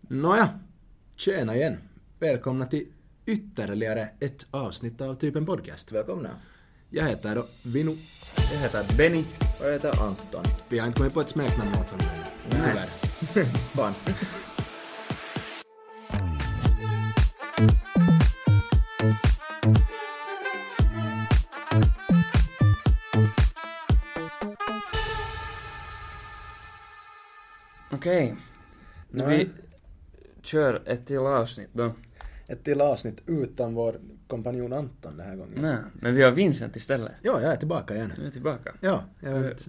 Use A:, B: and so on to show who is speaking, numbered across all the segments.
A: Nåja, tjena igen. Välkomna till ytterligare ett avsnitt av typen podcast.
B: Välkomna.
A: Jag heter då Vinu.
B: Jag heter Benny. Och jag heter Anton.
A: Vi har inte kommit på ett smeknamn åt honom ännu.
B: Nej.
A: Tyvärr.
B: Fan.
C: Okej. Nu
A: Nej.
C: vi kör ett till avsnitt då.
A: Ett till avsnitt utan vår kompanjon Anton den här gången.
C: Nej, men vi har Vincent istället.
A: Ja, jag är tillbaka igen.
C: Nu är vi tillbaka.
A: Ja, jag vet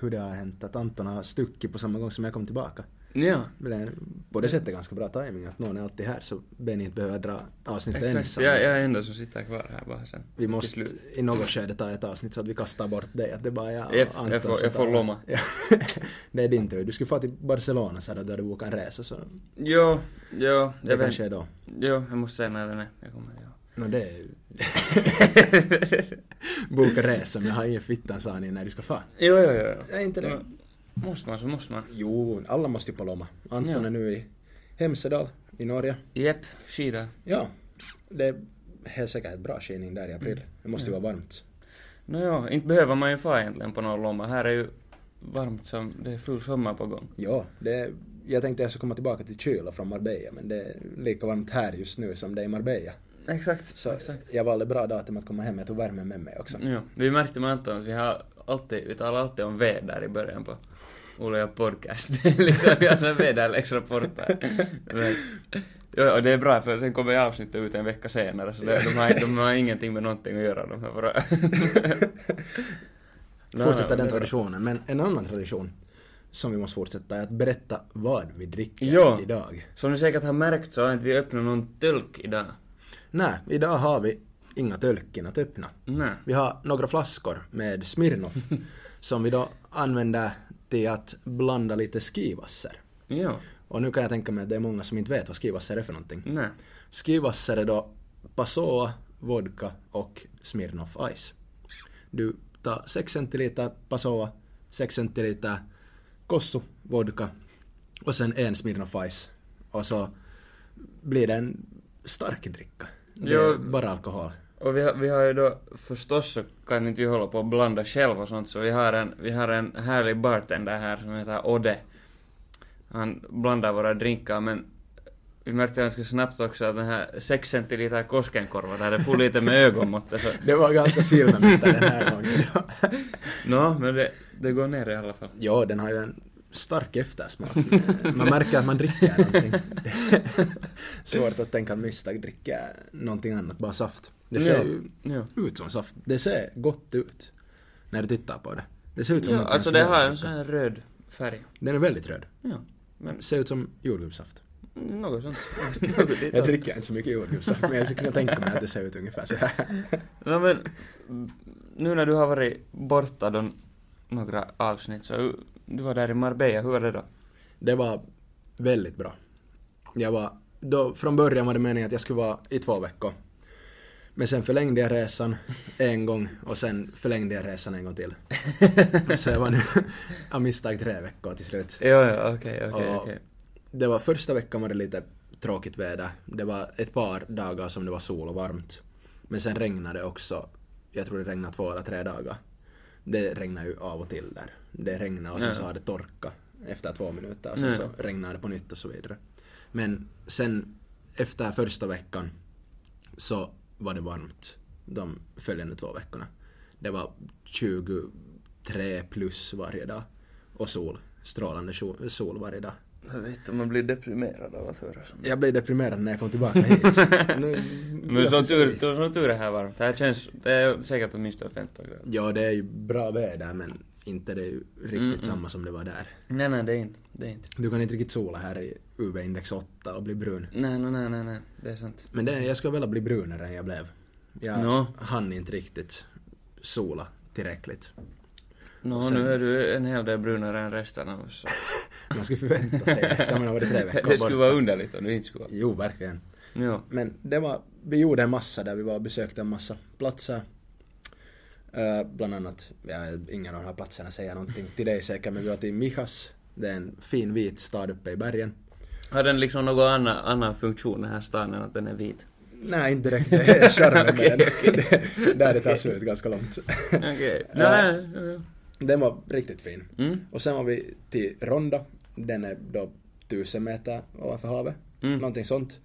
A: hur det har hänt att Anton har stuckit på samma gång som jag kom tillbaka.
C: Ja,
A: Men det är på det sättet ganska bra timing att någon är alltid här så Benny inte behöver dra avsnittet
C: exakt.
A: ensam.
C: Jag, jag är enda som sitter kvar här bara sen.
A: Vi
C: Till
A: måste
C: slut.
A: i något skede ta ett avsnitt så att vi kastar bort dig. Att det är bara jag och
C: Jag f- jag
A: Anton
C: får-
A: som
C: jag får
A: tar-
C: lomma.
A: Ja. det är din tur. Du skulle få till Barcelona så att du hade bokat en resa så
C: Jo, jo,
A: det
C: jag vet.
A: kanske är då.
C: Jo, jag måste säga när den är. Jag kommer ja.
A: Nå det är Boka resa men jag har ingen fittan sa ni när du ska få.
C: Jo, jo, jo. jo.
A: Nej, inte det.
C: Men Måste man så måste man.
A: Jo, alla måste ju på lomma. Anton
C: Ja.
A: är nu i Hemsedal i Norge.
C: Jepp, skida.
A: Ja, det är helt säkert ett bra skidning där i april.
C: Mm.
A: Det måste ju vara varmt.
C: Nåja, inte behöver man ju fara egentligen på någon lomma. Här är ju varmt som, det är full sommar på gång.
A: Ja, det, jag tänkte jag skulle komma tillbaka till kyla från Marbella men det är lika varmt här just nu som det är i Marbella.
C: Exakt,
A: Så
C: exakt.
A: jag valde bra datum att komma hem, jag tog värmen med mig också.
C: Ja, vi märkte med Anton att vi har alltid, vi talar alltid om väder i början på olika podcaster. liksom, vi har sån väderleksrapporter. Men- Ja, och det är bra för sen kommer avsnittet ut en vecka senare så det, de, har, de har ingenting med någonting att göra. De har bara... Nej,
A: Fortsätta den
C: nej, det är bra.
A: traditionen, men en annan tradition som vi måste fortsätta är att berätta vad vi dricker
C: Ja.
A: idag.
C: Som ni säkert har märkt så har inte vi öppnat någon tölk idag.
A: Nej, idag har vi inga tölken att öppna.
C: Nej.
A: Vi har några flaskor med Smirnoff som vi då använder till att blanda lite skivasser.
C: Jo.
A: Och nu kan jag tänka mig att det är många som inte vet vad skivasser är för någonting.
C: Nej.
A: Skivasser är då Passoa, vodka och Smirnoff Ice. Du tar 6 centiliter Passoa, 6 centiliter Kossu, vodka och sen en Smirnoff Ice. Och så blir det en stark dricka. Det är
C: Ja.
A: bara alkohol.
C: Och vi har, vi har ju då, förstås så kan inte vi hålla på och blanda själv och sånt, så vi har en, vi har en härlig bartender här som heter Odde. Han blandar våra drinkar, men vi märkte ganska snabbt också att den här 6 centiliter Koskenkorva där, det for lite med ögonmåttet så...
A: Det var ganska silvermättad den här gången.
C: Nå, men det, det går ner i alla fall.
A: ja, den har ju en stark eftersmak. Man märker att man dricker någonting. Svårt att tänka att misstag dricka någonting annat, bara saft. Det ser ju
C: Jo.
A: ut som saft. Det ser gott ut. När du tittar på det. Det ser ut som
C: Jo,
A: någonting
C: alltså
A: som
C: det
A: jag
C: har
A: brukar.
C: en sån här röd färg.
A: Den är väldigt röd.
C: Ja, men
A: Ser ut som jordgubbssaft.
C: något sånt.
A: Jag dricker inte så mycket jordgubbssaft men jag skulle kunna tänka mig att det ser ut ungefär så här.
C: No, men, nu när du har varit borta då några avsnitt, så uh, du var där i Marbella, hur var det då?
A: Det var väldigt bra. Jag var, då, från början var det meningen att jag skulle vara i två veckor. Men sen förlängde jag resan en gång och sen förlängde jag resan en gång till. Så jag var nu av misstag tre veckor till slut.
C: Jo, ja, okej, okej,
A: Ja.
C: okej.
A: Det var första veckan var det lite tråkigt väder. Det var ett par dagar som det var sol och varmt. Men sen regnade det också. Jag tror det regnade två eller tre dagar. Det regnar ju av och till där. Det regnade och sen
C: Ja.
A: så har det torka efter två minuter och sen
C: Ja.
A: så regnade det på nytt och så vidare. Men sen efter första veckan så var det varmt de följande två veckorna. Det var 23 plus varje dag och sol, strålande sol- sol varje dag.
C: Jag vet om man blir deprimerad av att höra sånt.
A: Jag blev deprimerad när jag kom tillbaka hit. Nu,
C: Men som tur, tur- som tur är här varmt. Det här känns, det är säkert åtminstone 15 grader.
A: Ja, det är ju bra väder men inte det är ju riktigt
C: Mm, mm.
A: samma som det var där.
C: Nej, nej, det är inte, det är inte.
A: Du kan inte riktigt sola här i UV-index 8 och bli brun.
C: Nej, nej, nej, nej, nej. det är sant.
A: Men det, jag skulle vilja bli brunare än jag blev. Jag
C: Nå.
A: hann inte riktigt sola tillräckligt.
C: Nå,
A: Och sen-
C: nu är du en hel del brunare än resten av oss. så.
A: Man skulle förvänta sig det efter man har varit tre veckor
C: Det skulle
A: borta.
C: vara underligt om du inte skulle vara.
A: Jo, verkligen.
C: Jo.
A: Men det var, vi gjorde en massa där vi var och besökte en massa platser. Eh, bland annat, ja, ingen av de här platserna säger någonting till dig säkert, men vi var till Mihas. Det är en fin vit stad uppe i bergen.
C: Har den liksom någon annan, annan funktion den här stan än att den är vit?
A: Nej, inte direkt. Det är charmen med
C: Okej,
A: den. Det- Där det tar slut ganska långt.
C: Okej. Nej. ja.
A: Den var riktigt fin.
C: Mm.
A: Och sen var vi till Ronda. Den är då tusen meter ovanför havet.
C: Mm.
A: Någonting sånt.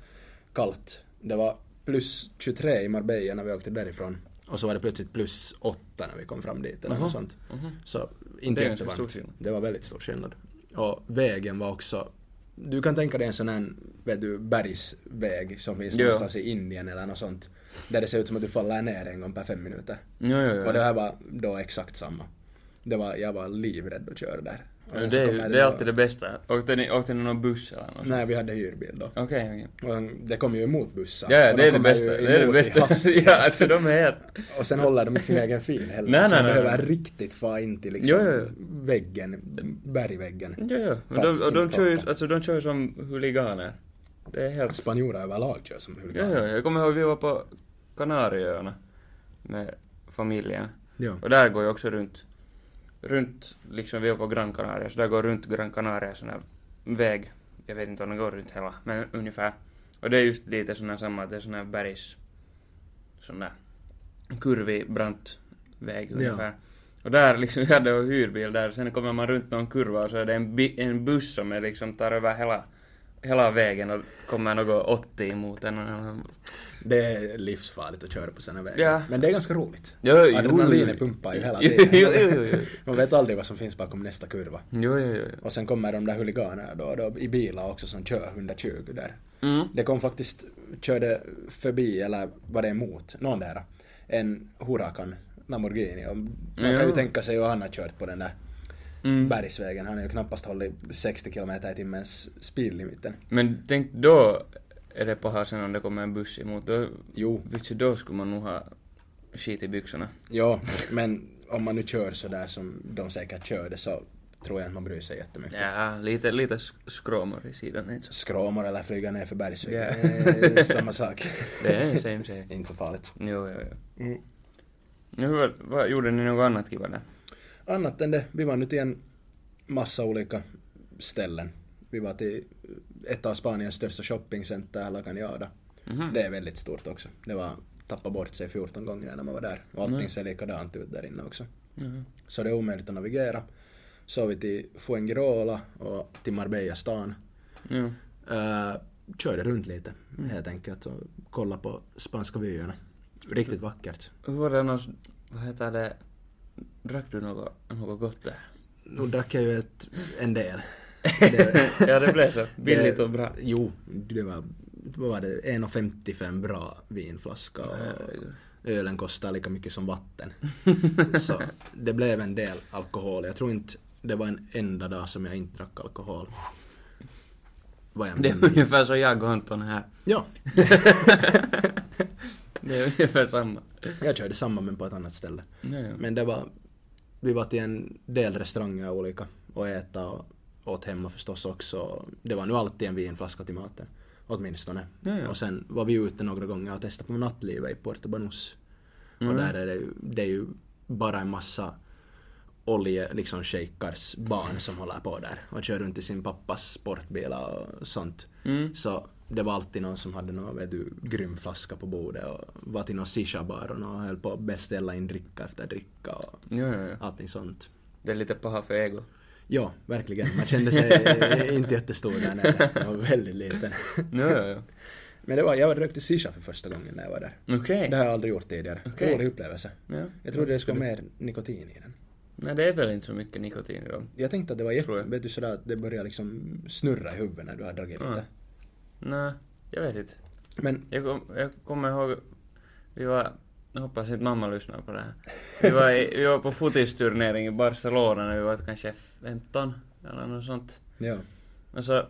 A: Kallt. Det var plus 23 i Marbella när vi åkte därifrån. Och så var det plötsligt plus 8 när vi kom fram dit eller
C: Jaha.
A: något sånt.
C: Mhm.
A: Så inte
C: Det är ganska stor
A: jättevarmt.
C: skillnad.
A: Det var väldigt stor skillnad. Och vägen var också du kan tänka dig en sån här vet du, bergsväg som finns
C: Jo.
A: någonstans i Indien eller något sånt. Där det ser ut som att du faller ner en gång per fem minuter.
C: Jo, jo, jo.
A: Och det här var då exakt samma. Det var, jag var livrädd att köra där. Och
C: Ja,
A: sen
C: Det
A: så
C: är,
A: kom
C: ju-
A: jag-
C: det är alltid det bästa. Åkte ni, åkte ni någon buss eller något?
A: Nej, vi hade hyrbil då.
C: Okej, okej.
A: Och det kom ju emot bussar.
C: Ja, ja,
A: Och de
C: det är det
A: kommer
C: bästa.
A: ju
C: Det är det
A: emot i
C: bästa.
A: hastighet.
C: ja, alltså de är helt...
A: Och sen håller de inte sin egen fil heller.
C: Nej,
A: så
C: nej,
A: de
C: nej,
A: behöver
C: nej.
A: riktigt fara in till liksom
C: Jo, jo,
A: väggen, bergväggen.
C: Ja, ja. Men
A: För att
C: de, och de
A: inte
C: kör ju
A: hoppa.
C: alltså, de kör ju som huliganer. Det är helt...
A: Spanjorer överlag kör som
C: Ja,
A: huliganer.
C: ja, jag kommer ihåg vi var på Kanarieöarna med familjen.
A: Ja.
C: Och där går jag också runt. Runt, liksom vi var på Gran Canaria, så där går runt Gran Canaria sån här väg. Jag vet inte om den går runt hela, men ungefär. Och det är just lite sån här samma, det är sån här bergs... Sån där kurvig, brant väg
A: Ja.
C: ungefär. Och där liksom, vi hade en hyrbil där, sen kommer man runt någon kurva och så är det en, bi- en buss som är liksom tar över hela, hela vägen och kommer något 80 emot en. och-
A: Det är livsfarligt att köra på sådana vägar.
C: Ja.
A: Men det är ganska roligt.
C: Jo, jo,
A: Adrenalinet
C: jo.
A: pumpar ju hela
C: Jo,
A: tiden.
C: jo, jo, jo.
A: Man vet aldrig vad som finns bakom nästa kurva.
C: Jo, jo, jo.
A: Och sen kommer de där huliganerna då, då i bilar också som kör 120 där.
C: Mm.
A: Det kom faktiskt, körde förbi, eller var det emot, någon där, en Huracan Lamborghini. Och man kan ju
C: Ja.
A: tänka sig hur han har kört på den där
C: Mm.
A: bergsvägen. Han har ju knappast hållit 60 km i timmens speedlimiten.
C: Men tänk då är det paha sen om det kommer en buss emot. Då,
A: Jo,
C: vitsi, då skulle man nog ha skit i byxorna.
A: ja, men om man nu kör så där som de säkert körde så tror jag inte man bryr sig jättemycket.
C: Ja, lite, lite sk- skråmor i sidan. Inte så.
A: Skråmor eller flyga ner för bergsvägen,
C: Ja.
A: eh, samma sak.
C: Det är same same.
A: Inte så farligt.
C: Jo, jo, jo.
A: Mm.
C: Nu, vad, vad gjorde ni något annat kiva där?
A: Annat än det, vi var nu till en massa olika ställen. Vi var till ett av Spaniens största shoppingcenter, La Cañada.
C: Mhm.
A: Det är väldigt stort också. Det var tappa bort sig 14 gånger när man var där. Och allting
C: Mm.
A: ser likadant ut där inne också.
C: Mhm.
A: Så det är omöjligt att navigera. Så vi till Fuengirola och till Marbella stan.
C: Jo.
A: Eh, körde runt lite helt enkelt och kollade på spanska vyerna. Riktigt vackert.
C: Hur var det annars, vad heter det, drack du något, något gott där?
A: Nu drack jag ju ett, en del. Det-
C: ja, det blev så. Billigt
A: Det-
C: och bra.
A: Jo, det var, vad var det, 1,50 för en bra vinflaska och ölen kostar lika mycket som vatten. Så det blev en del alkohol. Jag tror inte det var en enda dag som jag inte drack alkohol. Vad jag
C: Det är
A: minns.
C: ungefär så jag och Anton här.
A: Ja,
C: Det är ungefär samma.
A: jag körde samma men på ett annat ställe.
C: Ja, ja.
A: Men det var, vi var till en del restauranger olika och äta och åt hemma förstås också. Det var nu alltid en vinflaska till maten. Åtminstone.
C: Ja, ja.
A: Och sen var vi ute några gånger och testade på nattlivet i Puerto Banús. Och
C: Mm.
A: där är det, ju- det är ju bara en massa olje, liksom shejkars barn som håller på där och kör runt i sin pappas sportbilar och sånt.
C: Mm.
A: Så det var alltid någon som hade någon vet du, grym flaska på bordet och var till någon shisha-bar och någon höll på att beställa in dricka efter dricka och
C: Jo, jo, jo.
A: allting sånt.
C: Det är lite paha för ego.
A: Ja, verkligen. Man kände sig inte jättestor där nere. Man var väldigt liten.
C: Jo, jo, jo.
A: Men det var, jag rökte shisha för första gången när jag var där.
C: Okej.
A: Det har jag aldrig gjort tidigare.
C: Okej.
A: Rolig upplevelse.
C: Ja.
A: Jag trodde det skulle vara mer nikotin i den.
C: Nej, det är väl inte så mycket nikotin i dem.
A: Jag tänkte att det var
C: Tror
A: jätte...
C: jag.
A: Vet du sådär att det börjar liksom snurra i huvudet när du har dragit lite.
C: Ja. Nej, jag vet inte.
A: Men
C: Jag, kom, jag kommer ihåg, vi var, jag hoppas inte mamma lyssnar på det här. Vi var, i, vi var på fotisturnering i Barcelona när vi var kanske 15 eller något sånt.
A: ja.
C: Och så, Alltså,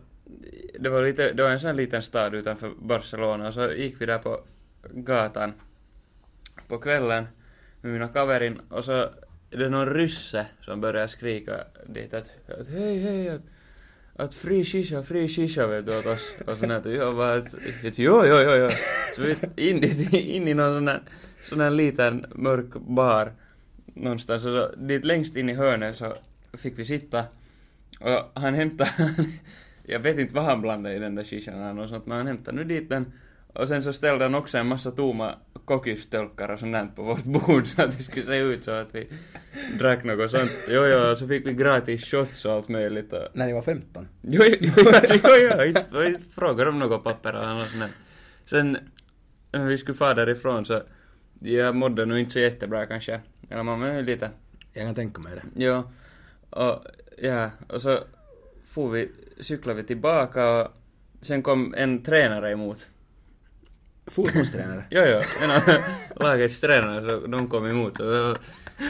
C: det var, lite, det var en sån här liten stad utanför Barcelona och så gick vi där på gatan på kvällen med mina kaverin och så är det någon rysse som börjar skrika dit att, att hej hej att, att fri shisha, fri shisha vet du åt oss och sån här att jag bara att, att jo jo jo jo så vi in, dit- in i någon sån här, sån här liten mörk bar någonstans och så dit längst in i hörnet så fick vi sitta och han hämtade, Jag vet inte vad han blandade i den där shishan eller något sånt, men han hämtade nu dit den. Och sen så ställde han också en massa tomma kokystölkar och sånt där på vårt bord så att det skulle se ut så att vi drack något sånt. Jo, jo, och så fick vi gratis shots och allt möjligt. Och...
A: När ni var 15?
C: Jo, jo, jo, alltså, jo, jo, inte- jag inte frågar om något papper eller något sånt där. Sen när vi skulle fara därifrån så jag mådde nog inte så jättebra kanske. Eller man men lite.
A: Jag kan tänka mig det.
C: Ja. Och, ja, och så for vi, cyklade vi tillbaka och sen kom en tränare emot.
A: Fotbollstränare?
C: Jo, jo, en av lagets tränare, så de kom emot. Och det var-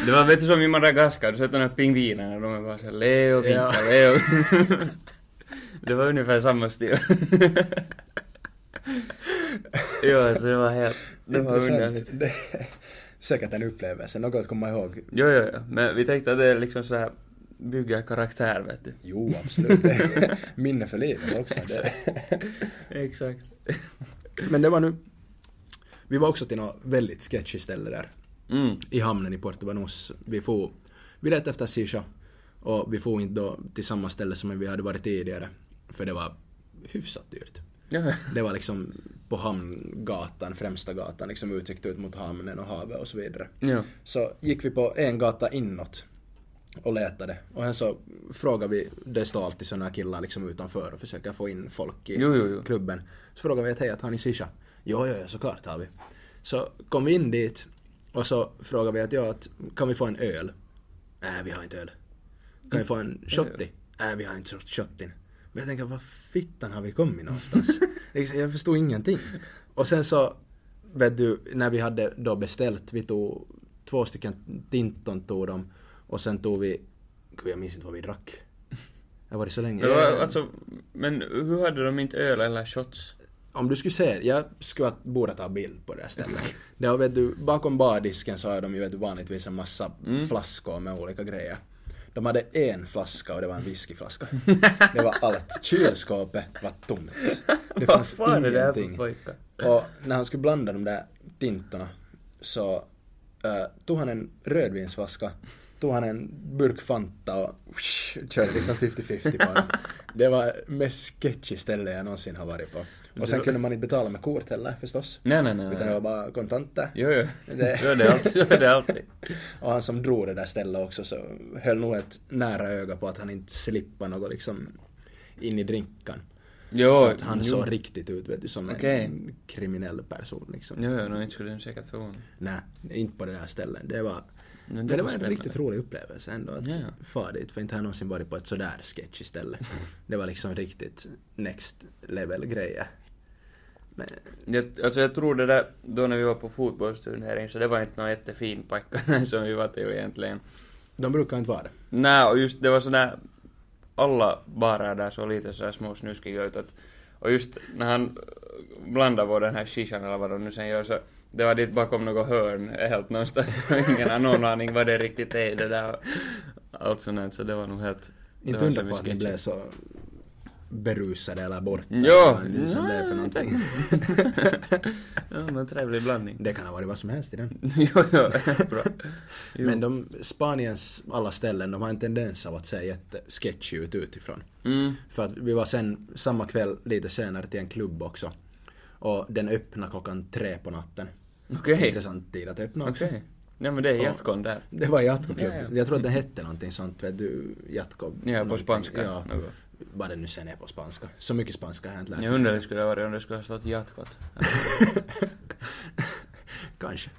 C: det var vet du som i Madagaskar, du sett de här pingvinerna, de är bara såhär Leo, vinka,
A: Ja.
C: Leo. Det var ungefär samma stil. jo, alltså det var helt... Det var
A: Intressant.
C: underligt.
A: Det är säkert en upplevelse, något att komma ihåg.
C: Jo, jo, jo, men vi tänkte att det är liksom så här bygga karaktär, vet du.
A: Jo, absolut. Det är Minne för livet också. Det.
C: Exakt.
A: Men det var nu... Vi var också till något väldigt sketchy ställe där.
C: Mm.
A: i hamnen i Puerto Banús. Vi for, vi letade efter shisha och vi for inte då till samma ställe som vi hade varit tidigare. För det var hyfsat dyrt.
C: Ja.
A: Det var liksom på hamngatan, främsta gatan, liksom utsikt ut mot hamnen och havet och så vidare.
C: Ja.
A: Så gick vi på en gata inåt och letade. Och sen så frågade vi, det står alltid sådana killar liksom utanför och försöker få in folk i
C: Jo, jo, jo.
A: klubben. Så frågade vi att hej, att har ni shisha? Jo, jo, jo, såklart har vi. Så kom vi in dit och så frågade vi att ja, att, kan vi få en öl? Nej, vi har inte öl. Kan vi få
C: Mm.
A: en shotti? Nej, vi har inte shot- shottin. Men jag tänker, vad fittan har vi kommit någonstans? liksom, jag förstod ingenting. Och sen så, vet du, när vi hade då beställt, vi tog två stycken Tinton tog dem och sen tog vi, gud jag minns inte vad vi drack. Jag var det så länge.
C: Det var, alltså, men hur hade de inte öl eller shots?
A: Om du skulle se, jag skulle att- borde ta bild på det här stället. Det var, vet du, bakom bardisken så har de ju vet du, vanligtvis en massa
C: Mm.
A: flaskor med olika grejer. De hade en flaska och det var en whiskyflaska. Det var allt. Kylskåpet var tomt. Det
C: Vad
A: fanns
C: fan är det här för
A: ingenting.
C: pojkar?
A: Och när han skulle blanda de där tintorna så eh, tog han en rödvinsflaska, tog han en burk Fanta och whoosh, körde liksom 50-50 på den. Det var mest sketchy ställe jag någonsin har varit på. Och sen kunde man inte betala med kort heller förstås.
C: Nej, nej, nej.
A: Utan det var
C: nej.
A: bara kontanter.
C: Jo, jo.
A: Det-
C: Så är det alltid. Så är det alltid.
A: Och han som drog det där stället också så höll nog ett nära öga på att han inte slippade något liksom in i drinkan.
C: Jo,
A: För att han
C: jo.
A: såg riktigt ut vet du, som
C: Okej.
A: en kriminell person liksom.
C: Jo, jo, no, inte skulle den säkert förvåna.
A: Nej, inte på det där stället. Det var,
C: det
A: men
C: var
A: det var en
C: spännande.
A: riktigt rolig upplevelse ändå att
C: Ja,
A: ja,
C: ja.
A: fara dit. För inte har jag någonsin varit på ett sådär sketchy ställe. det var liksom riktigt next level grejer. Men,
C: Jag, alltså jag tror det där, då när vi var på fotbollsturnering, så det var inte någon jättefin pojkar som vi var till egentligen.
A: de brukar inte vara det.
C: Nej, och just det var sådär, alla barer där såg lite sådär små snuskiga ut att, och just äh, när han blandade på den här shishan eller vad de nu sen gör så det var dit bakom något hörn helt någonstans och ingen har någon aning vad det riktigt är det där och allt sånt där, så det var nog helt... det
A: Inte
C: var
A: undra
C: så
A: på att ni
C: sketchy.
A: blev så berusade eller borta.
C: Ja,
A: eller vad ni sen
C: nej,
A: blev för någonting.
C: Ja, men en trevlig blandning.
A: Det kan ha varit vad som helst i den.
C: jo, jo, bra. Jo.
A: Men de, Spaniens alla ställen, de har en tendens av att se jättesketchy ut utifrån.
C: Mm.
A: För att vi var sen samma kväll lite senare till en klubb också. Och den öppnade klockan tre på natten.
C: Okej.
A: Intressant tid att öppna också.
C: Okej. Ja, men det är Jatkon där.
A: Det var Jatkoklubb.
C: Ja, ja.
A: Jag tror att den hette någonting sånt, vet du, Jatko...
C: Ja, på
A: någonting.
C: spanska.
A: Ja,
C: Något.
A: vad det nu sen är på spanska. Så mycket spanska har jag inte lärt
C: Jag undrar det skulle ha varit om det skulle ha stått Jatkot.
A: Kanske.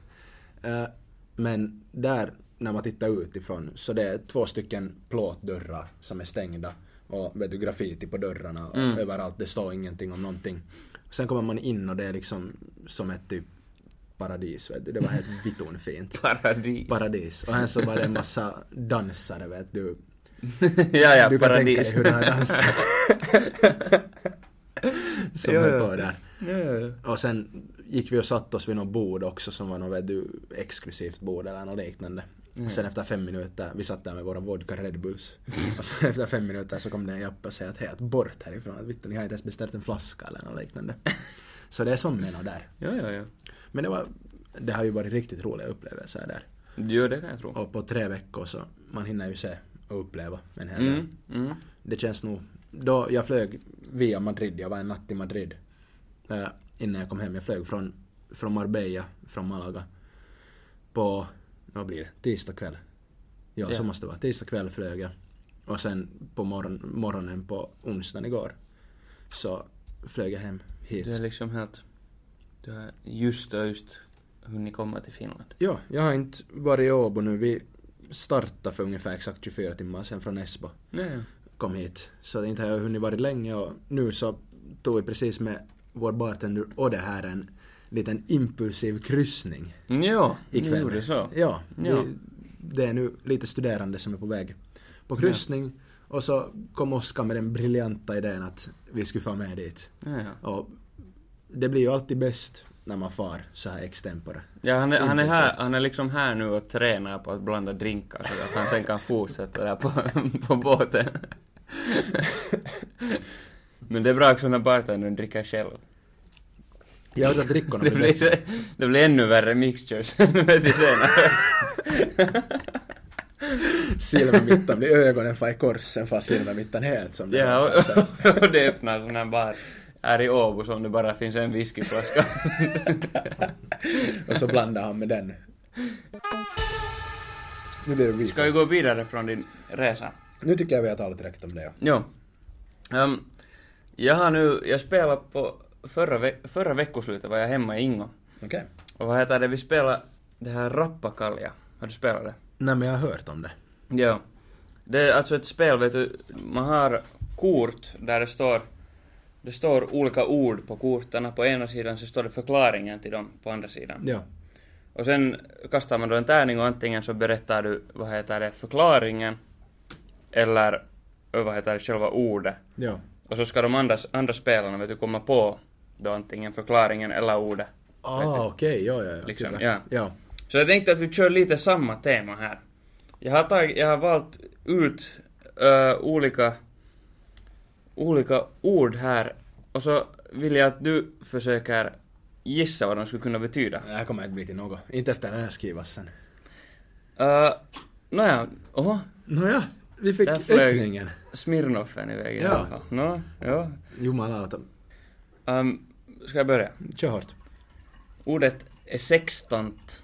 A: Eh, Men där, när man tittar utifrån, så det är två stycken plåtdörrar som är stängda. Och vet du, graffiti på dörrarna och
C: Mm.
A: överallt. Det står ingenting om någonting. Sen kommer man in och det är liksom som ett typ paradis, vet du. Det var helt vitton fint.
C: Paradis.
A: Paradis. Och sen så var det en massa dansare, vet du.
C: ja, ja,
A: du kan tänka
C: paradis.
A: dig hur den här dansen som
C: Ja,
A: höll
C: ja.
A: på där. Och sen gick vi och satte oss vid något bord också som var något vet du, exklusivt bord eller något liknande. Och sen efter fem minuter, vi satt där med våra vodka Red Bulls. Och sen efter fem minuter så kom det en japp och sa att hej, att bort härifrån. Att vittu, ni har inte ens beställt en flaska eller något liknande. Så det är som med något där.
C: Ja, ja, ja.
A: Men det var, det har ju varit riktigt roliga upplevelser där.
C: Jo, det kan jag tro.
A: Och på tre veckor så, man hinner ju se och uppleva en hel del.
C: Mm, mm.
A: Det känns nog då jag flög via Madrid, jag var en natt i Madrid eh, innan jag kom hem. Jag flög från, från Marbella, från Malaga på, vad blir det, tisdag kväll. Ja, så
C: Ja.
A: måste det vara. Tisdag kväll flög jag. Och sen på morgon, morgonen på onsdagen igår så flög jag hem hit.
C: Du är liksom helt... Du har just och just hunnit komma till Finland.
A: Ja, jag har inte varit i Åbo nu. Vi startade för ungefär exakt 24 timmar sen från Esbo.
C: Nej.
A: kom hit. Så inte har jag hunnit varit länge och nu så tog vi precis med vår bartender och det här en liten impulsiv kryssning
C: Mm, Ja,
A: ikväll.
C: ni gjorde så.
A: Ja,
C: Ja.
A: Vi, det är nu lite studerande som är på väg på kryssning. Och så kom Oskar med den briljanta idén att vi skulle få med dit.
C: Ja, ja.
A: Och det blir ju alltid bäst när man far så här extempore.
C: ja han, är, han, är här,
A: Impulsivt.
C: han är liksom här nu och tränar på att blanda drinkar så att han sen kan fortsätta där på, på båten. Men det är bra också när bartendern dricker själv.
A: Jag hörde att drickorna
C: Det
A: blir
C: blir,
A: bättre.
C: det blir ännu värre mixtures sen vet du senare.
A: Silvermittan blir ögonen far i korsen fast silvermittan är helt som
C: Ja,
A: var. Så-
C: och, och det öppnar sån här bar här i Åbo som det bara finns en whiskyflaska.
A: Och så blandar han med den. Nu blir det vi.
C: Ska vi gå vidare från din resa?
A: Nu tycker jag vi har talat direkt om det.
C: Jo. Ehm, jag har nu, jag spelade på, förra, ve- förra veckoslutet var jag hemma i Ingo.
A: Okej.
C: Och vad heter det, vi spelade det här Rappakalja. Har du spelat det?
A: Nej men jag har hört om det.
C: Ja. Det är alltså ett spel, vet du, man har kort där det står det står olika ord på korten, på ena sidan så står det förklaringen till dem på andra sidan.
A: Ja.
C: Och sen kastar man då en tärning och antingen så berättar du, vad heter det, förklaringen eller ö, vad heter det, själva ordet.
A: Ja.
C: Och så ska de andra, andra spelarna vet du, komma på då antingen förklaringen eller ordet. Vet
A: Ah
C: du.
A: okej, ja ja. ja.
C: Liksom,
A: Kyllä.
C: ja.
A: ja.
C: Så jag tänkte att vi kör lite samma tema här. Jag har, tag, jag har valt ut ö, olika, olika ord här och så vill jag att du försöker gissa vad de skulle kunna betyda.
A: Det här kommer inte bli till något. Inte efter den här skivassen.
C: Uh, Nåja, oho,
A: Nåja, vi fick
C: Där flög-
A: öppningen.
C: Smirnoffen iväg i
A: Ja.
C: alla fall. Nå, ja.
A: Jumalauta.
C: Um, ska jag börja?
A: Kör hårt.
C: Ordet är sextant.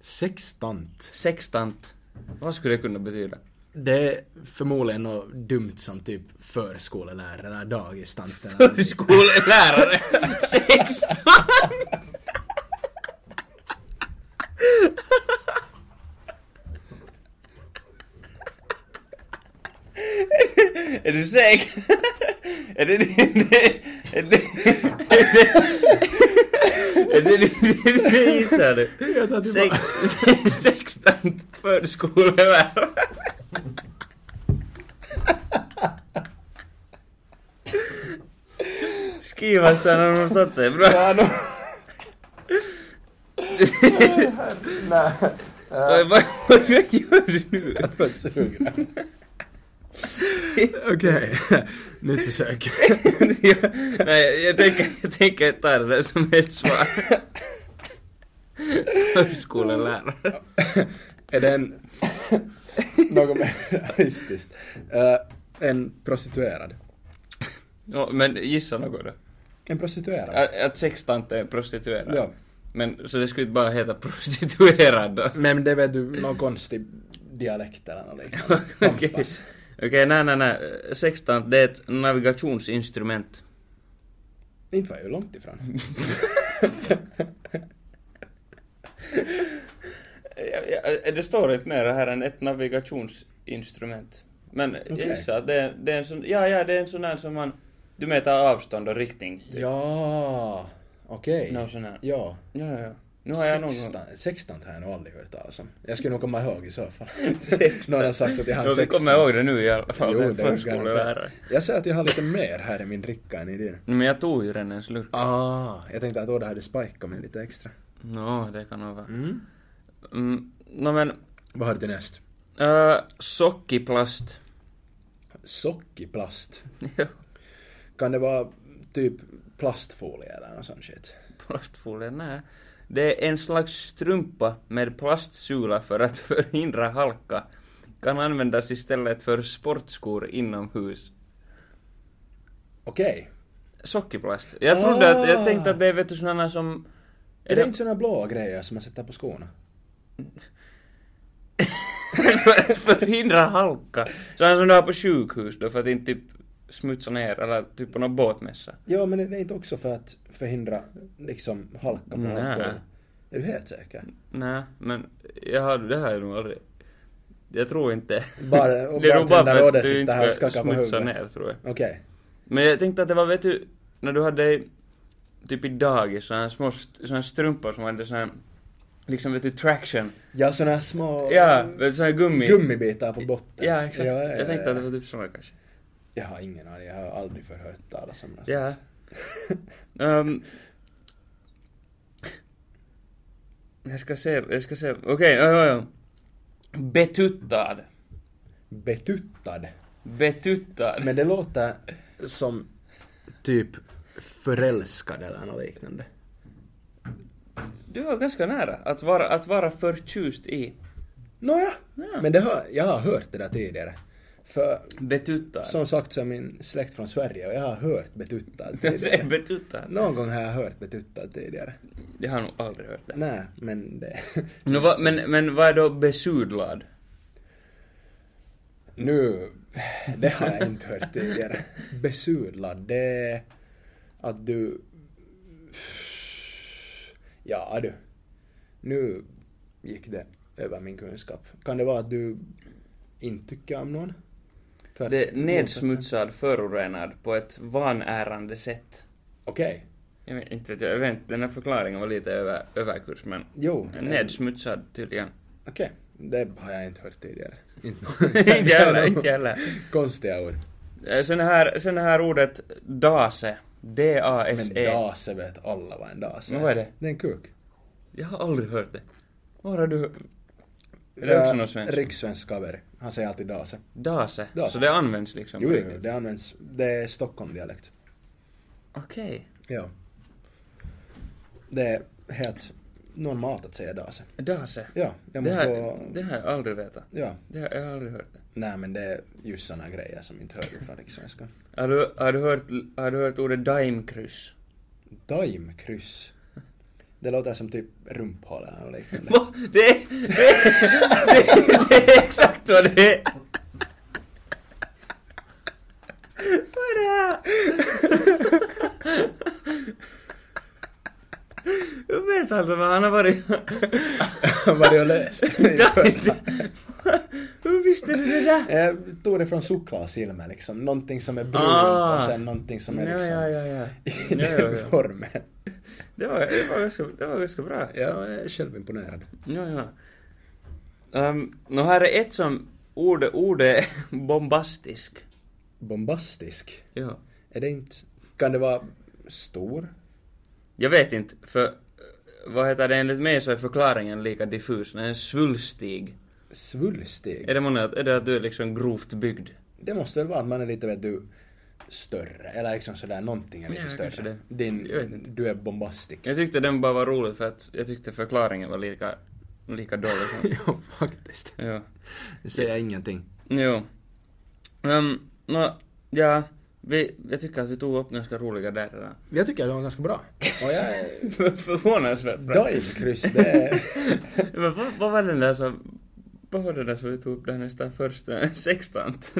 A: Sextant.
C: Sextant. Vad skulle det kunna betyda?
A: Det är förmodligen något dumt som typ förskolelärare eller dagistant. eller någonting.
C: Förskolelärare! sextant! är du säker? är det din... Är det Är det din... Det gissar du?
A: Jag tar tillbaka.
C: Sex, sextant förskolelärare. Skriva sen har de satt sig bra. Oj, vad, vad gör du nu?
A: Vad suger Okej, nytt försök.
C: Nej, jag tänker, jag tänker ta det där som ett svar. Förskolelärare.
A: Är den något mer realistiskt? Eh, en prostituerad.
C: Ja, men gissa något då.
A: En prostituerad?
C: Att, att sextant är prostituerad.
A: Ja.
C: Men så det skulle inte bara heta prostituerad då?
A: Men det vet du, någon konstig dialekt eller något liknande.
C: Okej,
A: Pampas.
C: Okej, nej nej nej. Sextant, det är ett navigationsinstrument.
A: Inte var jag ju långt ifrån.
C: Ja, ja, Det står inte mer här än ett navigationsinstrument. Men jag
A: Okej.
C: gissar att det är, det är en sån, ja ja, det är en sån här som man, du mäter avstånd och riktning.
A: Ja, okej.
C: Någon sån här.
A: Ja.
C: Ja ja, ja. Nu har jag någon gång...
A: Sextant- Sextant har jag nog aldrig hört talas om. alltså. Jag skulle nog komma ihåg i så fall. Någon har sagt att jag har
C: Jo, vi
A: sextant.
C: kommer ihåg det nu i alla fall.
A: Jo,
C: det är en
A: det är
C: förskolelärare.
A: garanterat. Jag säger att jag har lite mer här i min dricka än i din.
C: Men jag tog ju redan en slurk.
A: Ah, jag tänkte att åh, det hade spikat mig lite extra.
C: Nå, det kan nog vara. Mm, Nå men,
A: Vad har du till näst?
C: äh, sockiplast.
A: Sockiplast. Kan det vara typ plastfolie eller något sånt shit?
C: Plastfolie? Nej. Det är en slags strumpa med plastsula för att förhindra halka. Kan användas istället för sportskor inomhus.
A: Okej.
C: Sockerplast. Jag trodde att,
A: Ah.
C: jag tänkte att det är vet du sådana som...
A: Är det inte såna blåa grejer som man sätter på skorna?
C: för att förhindra halka. Sådana som du har på sjukhus då för att inte typ smutsa ner eller typ på någon båtmässa.
A: Ja, men är det inte också för att förhindra liksom halka på
C: Nej.
A: halkgolvet? Är du helt säker?
C: Nej, men jag har, det har jag nog aldrig... Jag tror inte.
A: Bara- och
C: det är nog bara
A: bartender
C: för
A: Odde
C: att du
A: sitter här
C: inte
A: och
C: ska
A: skakar på
C: smutsa
A: huvudet.
C: ner tror jag.
A: Okej.
C: Men jag tänkte att det var, vet du, när du hade i- typ i dagis sådana små st- såna strumpor som hade sån här, liksom vet du, traction.
A: Ja, såna här små
C: Ja, vet du, sån här gummi.
A: gummibitar på botten.
C: Ja, exakt.
A: Ja, ja,
C: jag tänkte
A: ja.
C: att det var typ såna kanske.
A: Jag har ingen aning, jag har aldrig förhört talas om det.
C: Ja. Ehm, jag ska se, jag ska se. Okej, ja, ja, ja. Betuttad.
A: Betuttad.
C: Betuttad.
A: Men det låter som typ förälskad eller något liknande.
C: Du var ganska nära att vara, att vara förtjust i.
A: Nåja,
C: Ja.
A: men det har, jag har hört det där tidigare. För
C: Betuttad.
A: som sagt så är min släkt från Sverige och jag har hört betuttad
C: Jag säger
A: tidigare.
C: betuttad.
A: Någon gång har jag hört betuttad tidigare.
C: Jag har nog aldrig hört det.
A: Nej, men det...
C: Nu, vad- men, men vad är då besudlad?
A: Nu, det har jag inte hört tidigare. Besudlad, det är att du... Ja du. Nu gick det över min kunskap. Kan det vara att du inte tycker om någon? Tvärt-
C: Det är nedsmutsad, förorenad på ett vanärande sätt.
A: Okej.
C: Jag vet inte, vet jag, jag vet, inte, den här förklaringen var lite över, överkurs men...
A: Jo.
C: Nedsmutsad tydligen.
A: Okej. Det har jag inte hört tidigare. Inte
C: inte heller, inte heller.
A: Konstiga ord.
C: Eh, Sen här, sen här ordet dase.
A: Men
C: D-A-S-E.
A: dase vet alla vad en dase
C: E. Men vad är det?
A: Det är en kuk.
C: Jag har aldrig hört det. Var har du hört? Är det också något svenskt?
A: Rikssvensk cover. Han säger alltid dase.
C: Dase.
A: Dase.
C: Så det används liksom?
A: Jo,
C: på
A: jo,
C: riktigt?
A: det används. Det är Stockholmdialekt.
C: Okej.
A: Ja. Det är helt normalt att säga dase.
C: Dase.
A: Ja, jag
C: Det
A: måste
C: här,
A: gå...
C: det här har jag aldrig vetat.
A: Ja.
C: Det här, jag har aldrig hört det.
A: Nej, men det är just såna grejer som inte hör från rikssvenskan.
C: Har du, har du, hört, har du hört ordet daimkryss?
A: Daimkryss. Det låter som typ rumphåla eller liknande.
C: Va? Det är, det, är, det, är, det är exakt vad det är! Vad är det här? Jag vet aldrig vad han har varit...
A: Vad du har läst?
C: Hur visste du det där?
A: Jag tog det från Soklas-filmen liksom. Någonting som är brunt
C: Ah.
A: och sen någonting som är
C: Ja,
A: liksom
C: ja, ja, ja.
A: i
C: Ja,
A: den
C: ja, ja.
A: formen.
C: Det var, det, var ganska, det var ganska bra.
A: Jag är själv imponerad.
C: Ja, ja. Um, Nå här är ett som... Ordet, ordet är bombastisk.
A: Bombastisk.
C: Ja.
A: Är det inte... Kan det vara stor?
C: Jag vet inte, för eh, vad heter det, enligt mig så är förklaringen lika diffus. Den är en svulstig.
A: Svulstig?
C: Är det, månne, är det att du är liksom grovt byggd?
A: Det måste väl vara att man är lite, vet du, större. Eller liksom sådär, någonting är lite
C: Ja, kanske
A: större.
C: det.
A: Din,
C: Jag vet inte.
A: du är bombastisk.
C: Jag tyckte den bara var rolig för att jag tyckte förklaringen var lika, lika dålig. som-
A: ja, faktiskt.
C: ja.
A: Det säger jag ingenting.
C: Jo. Um, Nå, ja. Vi, jag tycker att vi tog upp ganska roliga där redan.
A: Jag tycker att det var ganska bra. Och jag är...
C: Förvånansvärt bra.
A: Dive-kryss, det är...
C: Men vad, vad var den där som... Vad var det där som vi tog upp där nästan först? eh, Sextant?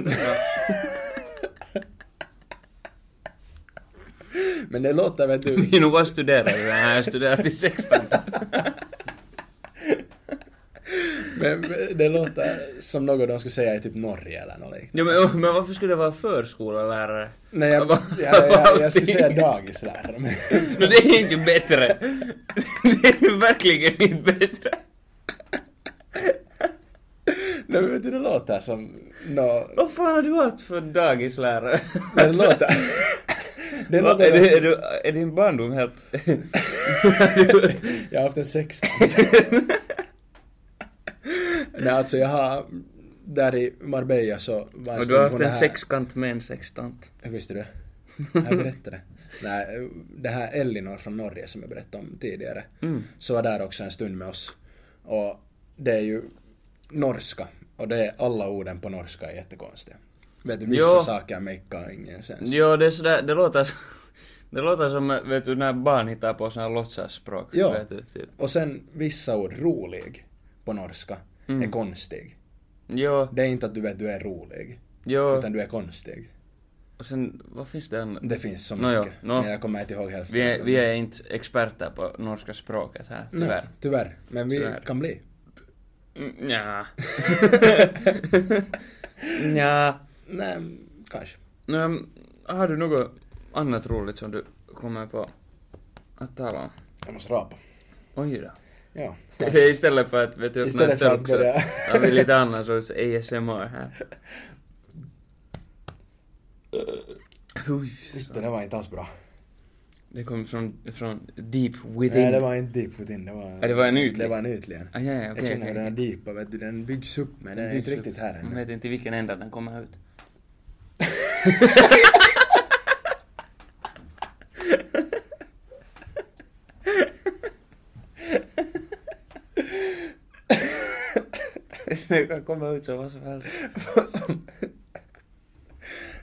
A: Men det låter, vet du...
C: Minun vad studerar du? Nej, jag studerar till sextant.
A: Men det låter som något de skulle säga i typ Norge eller något liknande.
C: Ja, men, men varför skulle det vara förskolelärare?
A: Nej, jag, jag,
C: Vad-
A: jag, jag,
C: vad
A: skulle säga
C: fin-
A: dagislärare. Men...
C: No, det är inte bättre. Det är verkligen inte bättre.
A: Nej, men vet du, det låter som... Nå...
C: Vad fan har du haft för dagislärare?
A: Men det låter... Det
C: Vad-
A: låter...
C: är, det, är, du, är din barndom helt...
A: Jag har haft en sextant. Nej, alltså jag har... Där i Marbella så var
C: Och du
A: stund
C: har
A: på
C: haft
A: det
C: en
A: här-
C: sexkant med en sextant.
A: Hur visste du det? Jag berättade. Nej, det här Elinor från Norge som jag berättade om tidigare.
C: Mm.
A: Så var där också en stund med oss. Och det är ju norska. Och det är alla orden på norska är jättekonstiga. Vet du, vissa
C: Jo.
A: saker make ingen sens.
C: Jo, det är sådär, det låter som... Det låter som, vet du, när barn hittar på såna här låtsasspråk.
A: Ja.
C: Vet du, typ.
A: Och sen vissa ord, rolig, på norska,
C: Mm.
A: är konstig.
C: Jo,
A: Det är inte att du vet du är rolig,
C: jo.
A: utan du är konstig.
C: Och sen, vad finns det annat?
A: Det finns så
C: Nåjo,
A: mycket,
C: nå.
A: men jag kommer inte ihåg hälften.
C: Vi är, vi är inte experter på norska språket här,
A: tyvärr.
C: tyvärr.
A: tyvärr. Men vi
C: Tyvärr.
A: kan bli.
C: Mm, nja. nja.
A: Nej, kanske.
C: Um, har du något annat roligt som du kommer på att tala om?
A: Jag måste rapa.
C: Oj då.
A: Ja.
C: Istället för att vet du, öppna en
A: Istället för att
C: tölk så
A: börja-
C: har vi lite annan sorts ASMR här. Oj,
A: Inte, det var inte alls bra.
C: det kom från, från deep within.
A: Nej, det var inte deep within. Det var,
C: Ja, det var en ytlig.
A: Det var en ytligen.
C: Ah, ja, ja,
A: jag
C: okej,
A: känner hur
C: okej.
A: den här deepa, vet du, den byggs upp men den är inte riktigt här
C: Man
A: ännu.
C: vet inte i vilken ända den kommer ut. Det kan komma ut som vad som helst.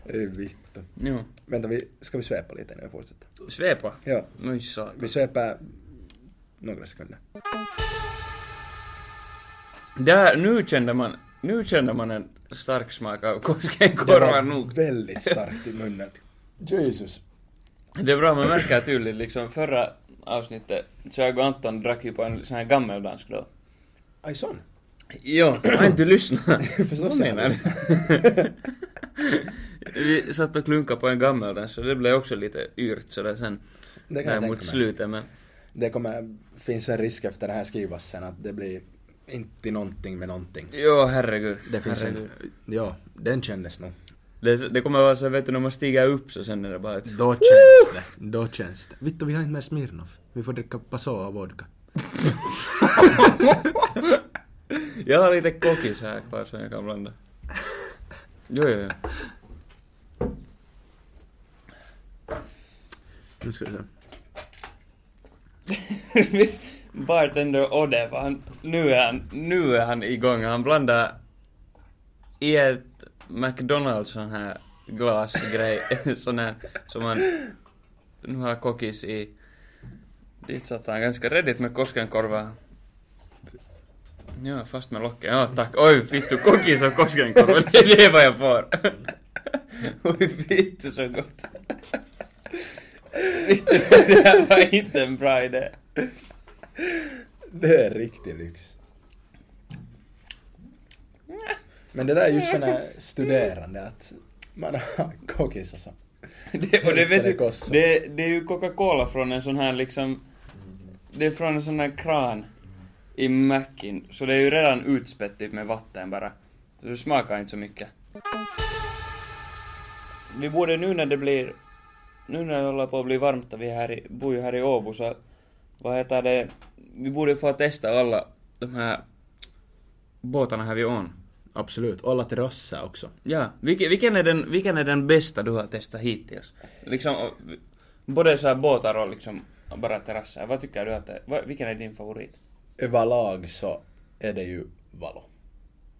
A: Oj, Vittu.
C: Jo.
A: Vänta, vi, ska vi svepa lite innan vi fortsätter?
C: Svepa.
A: Ja,
C: Oj satan.
A: vi svepar några sekunder.
C: Där, nu kände man, nu kände man en stark smak av
A: Det
C: Koskenkorva nog.
A: var väldigt starkt i munnen. Jesus.
C: Det är bra, man märker tydligt liksom förra avsnittet så jag och Anton drack ju på en sån här gammeldansk då.
A: Aj, sån.
C: Jo, jag har inte lyssnat.
A: Förstås
C: Vad
A: jag har
C: menar du? Vi satt och klunkade på en gammeldans så det blev också lite yrt sådär sen.
A: Det kan
C: där
A: jag tänka
C: mot
A: mig.
C: slutet men.
A: Det kommer, finns en risk efter den här skrivassen att det blir inte någonting med någonting.
C: Jo, herregud.
A: Det finns
C: herregud.
A: en, ja, den kändes nog.
C: Det, det kommer vara så vet du när man stiger upp så sen är det bara ett...
A: Då känns det. Då känns det. Vittu, vi har inte mer Smirnoff. Vi får dricka Passoa och vodka.
C: Jag har lite kokis här kvar som jag kan blanda. Jo, jo, jo.
A: Nu ska vi se.
C: Bartender Odde, var han, nu, är han, nu är han igång. Han blandar i ett McDonalds sån här glasgrej, sån här som han nu har kokis i. Dit satt han ganska redigt med Koskenkorva. Ja, fast med locken. Ja, tack. Oj, fittu, kokis och Koskenkorva. Det är det vad jag får. Oj, fittu så gott. Fittu, det här var inte en bra idé.
A: Det är riktig lyx. Men det där är just sån här studerande att man har kokis och så.
C: Det, och det, vet
A: Hälften är
C: du,
A: kossa.
C: det, det är ju Coca-Cola från en sån här liksom... Det är från en sån här kran i Macin, så det är ju redan utspätt typ med vatten bara. Så det smakar inte så mycket. Vi borde nu när det blir... Nu när det håller på att bli varmt och vi här i, bor ju här i Åbo så... Vad heter det? Vi borde få testa alla de här båtarna här vid ån.
A: Absolut. Olla terrasser också.
C: Ja, vilken, vilken, är den, vilken är den bästa du har testat hittills? Liksom, och- både så här båtar och liksom bara terrasser. Vad tycker du att det vad, Vilken är din favorit?
A: Överlag så är det ju valo.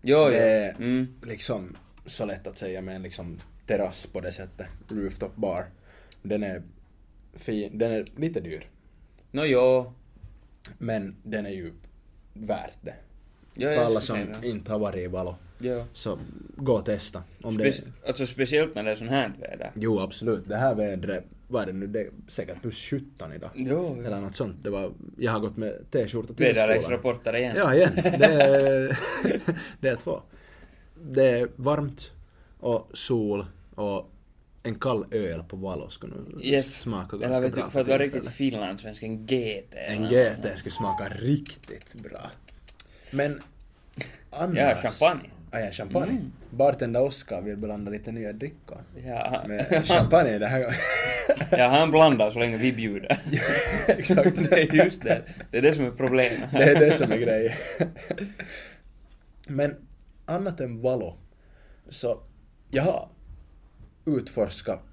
C: Jo,
A: Det
C: jo.
A: är
C: Mm.
A: liksom så lätt att säga med en liksom terrass på det sättet. Rooftop bar. Den är fin. Den är lite dyr.
C: No, jo.
A: Men den är ju värt det.
C: Ja,
A: För
C: jag
A: alla som
C: skulle säga det.
A: inte har varit i valo.
C: jo.
A: Så gå och testa. Om det...
C: Speci- alltså speciellt när det är sån här väder.
A: Jo absolut, det här vädret, vad är det nu, det är säkert plus 17 idag.
C: Jo, jo.
A: Eller något sånt. Det var, jag har gått med t-skjorta till skolan.
C: Väderleksrapporter igen.
A: Ja igen, det är, det är två. Det är varmt och sol och en kall öl på Valo skulle nog
C: Yes.
A: smaka ganska
C: Eller vet
A: bra.
C: du, för att vara
A: tillfället.
C: riktigt finlandssvensk, en GT.
A: En
C: va?
A: GT skulle smaka riktigt bra. Men annars...
C: Ja, champagne. Mm.
A: Ah, ja, champagne. Bartender Oskar vill blanda lite nya drickor.
C: Ja.
A: Med champagne den här gången.
C: ja, han blandar så länge vi bjuder.
A: Exakt.
C: det är just det. Det är det som är problemet.
A: Det är det som är grejen. Men annat än Valo, så jag har utforskat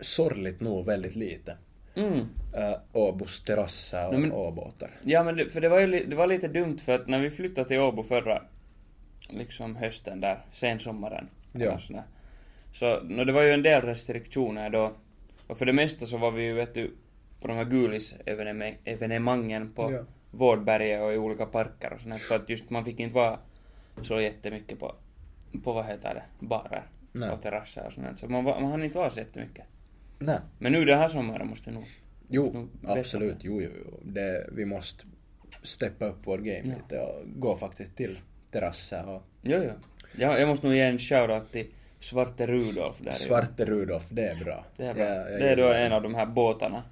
A: sorgligt nog väldigt lite.
C: Mm.
A: Äh, Åbos terrasser och
C: Nej, men-
A: åbåtar.
C: Ja men det, för det var ju li, det var lite dumt för att när vi flyttade till Åbo förra liksom hösten där, sensommaren,
A: Ja.
C: eller sån där, Så no, det var ju en del restriktioner då. Och för det mesta så var vi ju vet du, på de här Gulis-evenemangen på
A: Ja.
C: Vårdberget och i olika parker och sånt här. Så att just man fick inte vara så jättemycket på, på vad heter det, barer
A: Nej.
C: och terrasser och sånt här. Så man, var- man hann inte vara så jättemycket.
A: Nej.
C: Men nu den här sommaren måste vi nog... måste
A: Jo,
C: nog bättre
A: absolut.
C: på det.
A: Jo, jo, jo. Det, vi måste steppa upp vår game
C: Ja.
A: lite och gå faktiskt till terrasser och
C: Jo, jo. Jag, jag måste nog ge en shoutout till Svarte Rudolf där. i-
A: Svarte Rudolf, det är bra.
C: Det är, bra.
A: Jag- jag
C: det är då
A: gillar
C: en av de här båtarna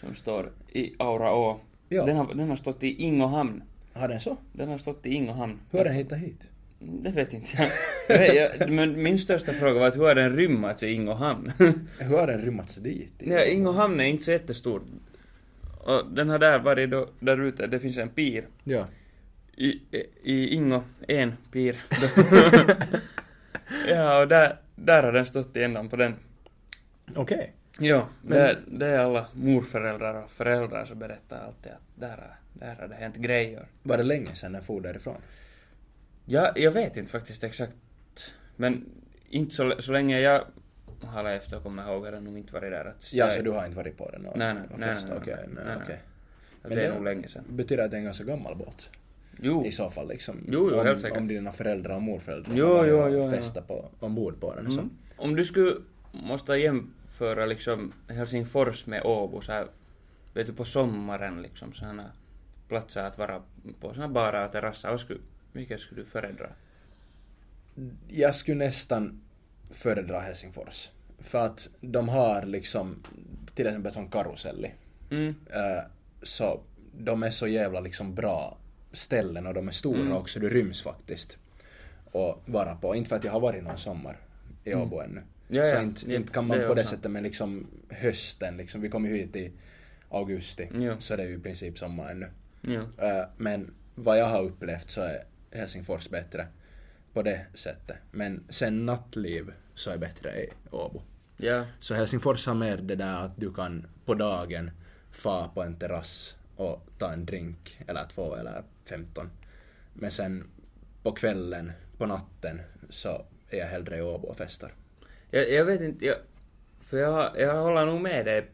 C: som står i Auraå.
A: Ja.
C: Den, har, den har stått i Ingohamn.
A: Har den så?
C: Den har stått i Ingohamn.
A: Hur har den hittat hit?
C: Det vet inte jag. jag. vet- jag- Men min största fråga var att hur har den rymmats i Ingohamn?
A: Hur har den rymmats dit?
C: ja, Ingohamn är inte så jättestor. Och den har där varit då, där ute, det finns en pir.
A: Ja.
C: I, i Ingo, en pir. ja, och där, där har den stått i ändan på den.
A: Okej.
C: Ja,
A: Men-
C: det, det är alla morföräldrar och föräldrar som berättar alltid att där har, där har det hänt grejer.
A: Var det länge sedan den for därifrån?
C: Ja, jag vet inte faktiskt exakt. Men inte så, så länge jag har lärt efter och kommer ihåg har den nog inte varit där. Att
A: Ja,
C: jag-
A: så du har inte varit på den? och-
C: Nej, nej,
A: och
C: nej,
A: fest?
C: nej, nej,
A: Okej,
C: nej,
A: nej,
C: nej, nej.
A: okej.
C: Att
A: Men
C: det är
A: det-
C: nog länge sedan.
A: Betyder att det är en ganska gammal båt?
C: Jo,
A: I så fall liksom.
C: Jo, jo,
A: om,
C: helt säkert.
A: Om dina föräldrar och morföräldrar
C: Jo,
A: har varit
C: jo,
A: och
C: jo, ja.
A: festat på, ombord på den. Så.
C: Mm. om du skulle måste jämföra liksom Helsingfors med Åbo så här, vet du på sommaren liksom sådana platser att vara på, sådana barer och terrasser, vad skulle, vilka skulle du föredra?
A: Jag skulle nästan föredra Helsingfors. För att de har liksom, till exempel som Karuselli.
C: Mm.
A: Eh, så de är så jävla liksom bra ställen och de är stora
C: Mm.
A: också, du ryms faktiskt. Och vara på. Inte för att jag har varit någon sommar i Åbo ännu.
C: Mm. Ja,
A: så
C: ja.
A: inte,
C: Ja,
A: inte kan
C: det
A: man
C: är
A: på det
C: också.
A: sättet men liksom hösten liksom, vi kom ju hit i augusti.
C: Ja.
A: Så det är ju i princip sommar ännu.
C: Jo.
A: Eh, Men vad jag har upplevt så är Helsingfors bättre på det sättet. Men sen nattliv så är bättre i Åbo.
C: Ja.
A: Så Helsingfors har mer det där att du kan på dagen fa på en terrass och ta en drink eller två eller femton. Men sen på kvällen, på natten så är jag hellre i Åbo och festar.
C: Jag, jag vet inte, jag, för jag, jag håller nog med dig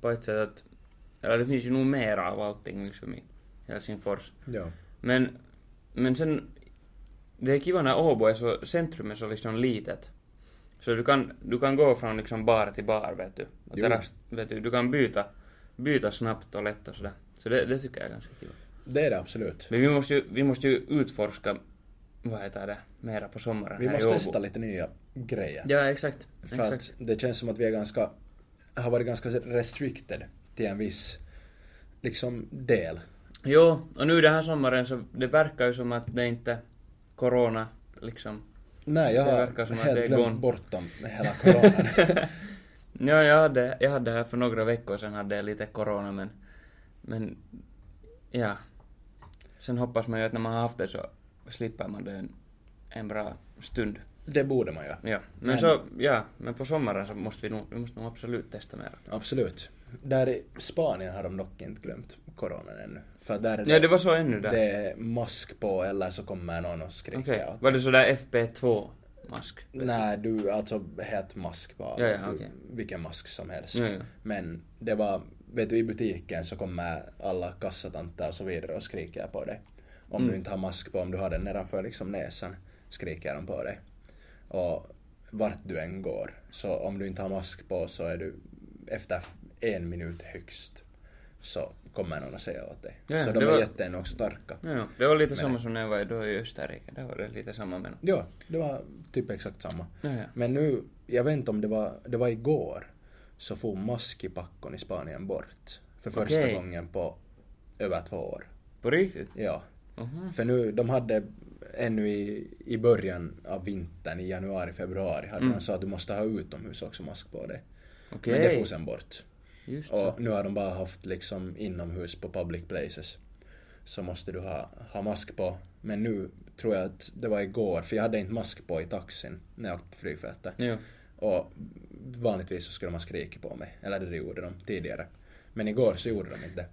C: på ett sätt att, eller det finns ju nog mer av allting liksom i Helsingfors.
A: Ja.
C: Men, men sen, det är kiva när Åbo är så, centrum är så liksom litet. Så du kan, du kan gå från liksom bar till bar vet du. Och
A: Jo.
C: terrass, vet du, du kan byta, byta snabbt och lätt och sådär. Så det, det tycker jag är ganska kiva.
A: Det är det absolut.
C: Men vi måste ju, vi måste ju utforska, vad heter det, mera på sommaren
A: Vi
C: här i
A: måste
C: Åbo.
A: testa lite nya grejer.
C: Ja, exakt.
A: För
C: exakt.
A: att det känns som att vi är ganska, har varit ganska restricted till en viss liksom del.
C: Jo, och nu den här sommaren så det verkar ju som att det inte corona liksom.
A: Nej, jag
C: Det
A: har
C: verkar som att det
A: helt
C: är gone.
A: glömt bortom hela coronan.
C: Ja, jag hade, jag hade här för några veckor sedan hade jag lite corona men, men ja. Sen hoppas man ju att när man har haft det så slipper man det en, en bra stund.
A: det borde man ju.
C: Ja, men,
A: Men-
C: så, ja, men på sommaren så måste vi nog, vi måste nog absolut testa mer.
A: Absolut. Där i Spanien har de dock inte glömt coronan ännu. För där är det,
C: Ja, det var så ännu där.
A: det är mask på eller så kommer någon och skriker.
C: Okej,
A: åt-
C: var det sådär FP2-mask?
A: Nej, du, alltså het mask bara.
C: Ja, ja,
A: du,
C: okej.
A: Vilken mask som helst.
C: Ja, ja.
A: Men det var, vet du i butiken så kommer alla kassatanter och så vidare och skriker på dig. Om
C: Mm.
A: du inte har mask på, om du har den nedanför liksom näsan, skriker de på dig. Och vart du än går, så om du inte har mask på så är du efter en minut högst så kommer någon att säga åt dig.
C: Ja,
A: så de
C: det
A: är
C: var-
A: jätteännu också starka.
C: Ja, ja. det var lite samma som när jag var då i Österrike, där var det lite samma men...
A: Ja, det var typ exakt samma.
C: Ja, ja.
A: Men nu, jag vet inte om det var, det var igår, så får maskipackon i Spanien bort. För första
C: Okej.
A: gången på över två år.
C: På riktigt?
A: Ja.
C: Mhm.
A: För nu, de hade ännu i, i början av vintern, i januari, februari, hade
C: Mm.
A: de sagt att du måste ha utomhus också mask på dig.
C: Okej.
A: Men det får sen bort.
C: Just det.
A: Och nu har de bara haft liksom inomhus på public places. Så måste du ha, ha mask på. Men nu tror jag att det var igår, för jag hade inte mask på i taxin när jag åkte flygfältet.
C: Jo.
A: Och vanligtvis så skulle man skrika på mig, eller det gjorde de tidigare. Men igår så gjorde de inte.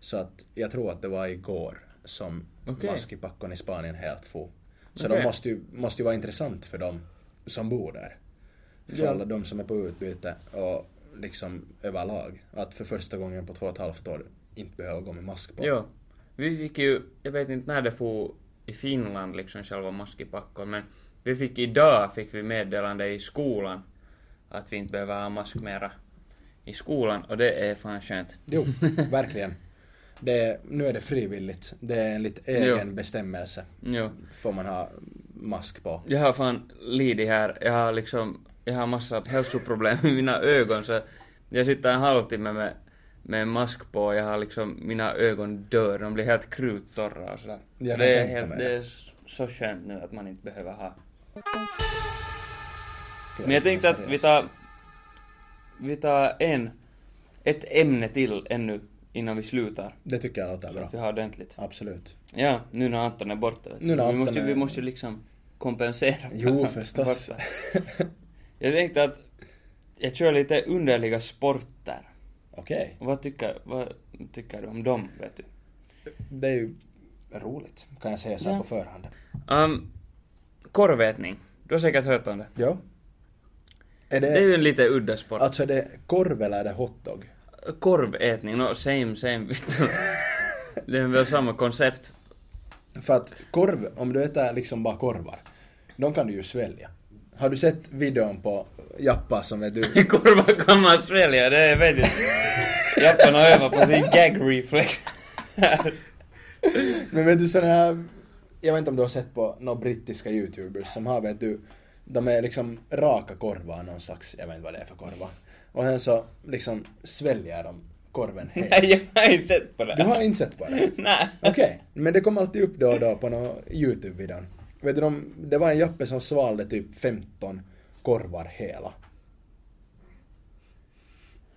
A: Så att jag tror att det var igår som
C: Okej.
A: maskipackon i Spanien helt for. Så
C: Okej.
A: de måste ju, måste ju vara intressant för dem som bor där. för alla de som är på utbyte och liksom överlag. Att för första gången på två och ett halvt år inte behöva gå med mask på.
C: Ja. Vi fick ju, jag vet inte när det for i Finland liksom själva maskipackor, men vi fick idag fick vi meddelande i skolan att vi inte behöver ha mask mera i skolan och det är fan skönt.
A: Jo, verkligen. Det är, nu är det frivilligt. Det är enligt egen bestämmelse.
C: Jo.
A: Får man ha mask på.
C: Jag har fan lidit här, jag har liksom, jag har massa hälsoproblem i mina ögon så jag sitter en halvtimme med, med en mask på och jag har liksom, mina ögon dör, de blir helt kruttorra och sådär.
A: Ja,
C: Så
A: jag
C: det är,
A: tänkte
C: helt,
A: med
C: det
A: det.
C: är så skönt nu att man inte behöver ha Men jag tänkte att vi tar, vi tar en, ett ämne till ännu innan vi slutar.
A: Det tycker jag låter
C: Så
A: bra.
C: att vi har ordentligt.
A: Absolut.
C: Ja, nu när Anton är borta. vet du.
A: Nu när
C: vi,
A: Anton
C: måste, ju- vi
A: är-
C: måste ju liksom kompensera. för
A: Jo,
C: att Anton är
A: förstås.
C: borta. Jag tänkte att jag kör lite underliga sporter.
A: Okej.
C: Vad tycker, vad tycker du om dem, vet du?
A: Det är ju roligt, kan jag säga så här
C: Ja.
A: på förhand.
C: Um, korvätning. Du har säkert hört om det.
A: Ja. Är
C: Det är ju en lite udda sport.
A: Alltså är det korv eller är det hotdog?
C: Korvätning, no same same vittu. Det är väl samma koncept.
A: För att korv, om du äter liksom bara korvar, de kan du ju svälja. Har du sett videon på Jappa som är du?
C: Korvar kan man svälja, det vet jag Jappan har övat på sin gag reflex.
A: Men vet du sådana här, jag vet inte om du har sett på några brittiska youtubers som har vet du, de är liksom raka korvar någon slags, jag vet inte vad det är för korvar. Och sen så liksom sväljer de korven helt.
C: Nej, jag har inte sett på det.
A: Du har inte sett på det?
C: Nej.
A: Okej, men det kom alltid upp då och då på någon YouTube-videon. Vet du, de, det var en jappe som svalde typ 15 korvar hela.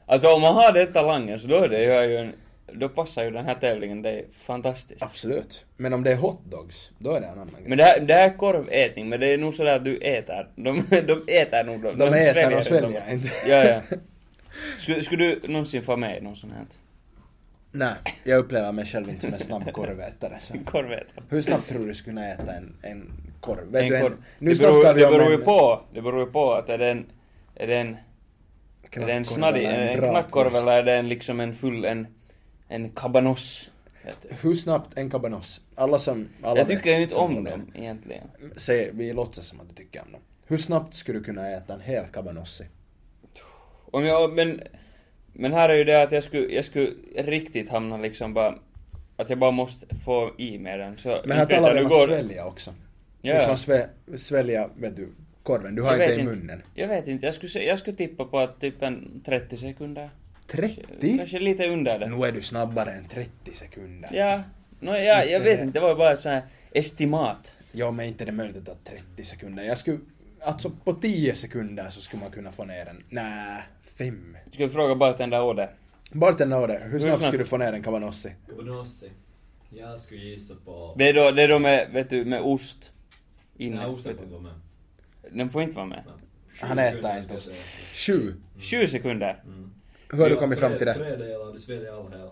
C: Alltså om man har den talangen så då är det ju en... Då passar ju den här tävlingen dig fantastiskt.
A: Absolut. Men om det är hotdogs, då är det en annan grej.
C: Men det här, det här är korvätning, men det är nog sådär att du äter. De, de äter nog. De,
A: De äter, de
C: inte.
A: sväljer inte.
C: Ja, ja. Skulle, skulle du någonsin få med i någon sån här
A: Nej, jag upplever mig själv inte som en snabb korvätare. Så.
C: korvätare?
A: Hur snabbt tror du skulle kunna äta en, en korv? Vet
C: En
A: du, en,
C: korv.
A: nu
C: det beror,
A: snackar vi
C: det
A: om
C: beror ju
A: en
C: på, det beror ju på att är den, är den, är
A: knackkorv
C: den snaddig,
A: eller
C: är det en
A: bratwurst.
C: knackkorv eller är den liksom en full, en, en kabanoss? Vet du.
A: Hur snabbt en kabanoss? Alla som... Alla
C: Jag
A: vet
C: tycker ju inte om
A: förmodligen.
C: dem egentligen.
A: Säg, vi låtsas som att du tycker om dem. Hur snabbt skulle du kunna äta en hel kabanossi?
C: Om jag, men, men här är ju det att jag skulle, jag skulle riktigt hamna liksom bara, att jag bara måste få i mig den. Så
A: Men här
C: inte vet
A: talar
C: jag,
A: vi
C: nu
A: om
C: går-
A: att svälja också.
C: Ja.
A: Liksom svä, svälja, vet du, korven. Du har
C: Jag
A: inte
C: vet
A: i
C: inte.
A: munnen.
C: Jag vet inte, jag skulle, se- jag skulle tippa på att typ en 30 sekunder.
A: 30?
C: Kanske lite under det.
A: Nu är du snabbare än 30 sekunder.
C: Ja, no, ja jag vet inte, det var bara ett sånt här estimat.
A: Ja, men inte det möjligt att ta 30 sekunder. Jag skulle... Alltså på 10 sekunder så skulle man kunna få ner en... Nä, fem.
C: Ska vi fråga bartender Ode?
A: Bartender Ode, hur snabbt
C: snabbt?
A: skulle du få ner en cabanossi?
D: Cabanossi. Jag skulle gissa på...
C: Det är då, det är då med, vet du, med ost. Inne.
D: Nej, osten
C: vet
D: får
C: du.
D: gå med.
C: Den får inte vara med.
D: Nej.
A: Han äter
D: Sju sekunder
A: inte
D: ska jag säga.
A: 7.
C: Sju sekunder.
D: Mm.
A: Hur har
D: Vi
A: du kommit
D: tre-
A: fram till det?
D: Tre delar, du sväljer all hela.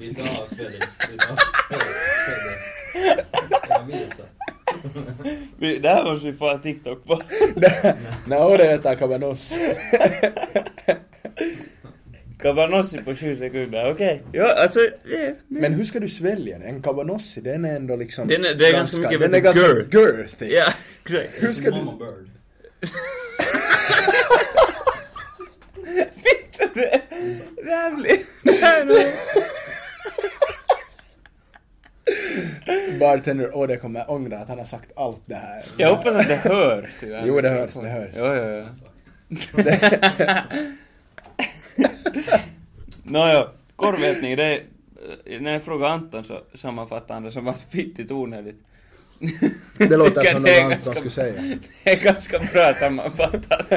D: Vi tar och sväljer. Vi tar och sväljer. Jag visar.
C: Vi, det här måste vi få en TikTok på.
A: När Ode äter cabanossi.
C: Cabanossi på sju sekunder, okej. Ja, alltså... Yeah,
A: Men hur ska du svälja den? En cabanossi, den är ändå liksom...
C: Den är- det är ganska
A: Den
C: mycket,
A: är
C: vet du,
A: ganska
C: girth.
A: girthy.
C: Ja, exakt.
A: Hur ska
D: Mama
A: du...
D: Bird.
C: Det här blir... Det här är...
A: Bartender Ode kommer ångra att han har sagt allt det här.
C: Jag hoppas att det hörs. ju.
A: Jo, det hörs, det hörs.
C: Jo, jo, jo. Nåja, korvätning, det är... eh, När jag frågar Anton så sammanfattar han det som att fittigt onödigt.
A: Det låter
C: Tycker
A: som
C: det är
A: något annat de
C: ganska-
A: skulle säga.
C: Det är ganska bra sammanfattat.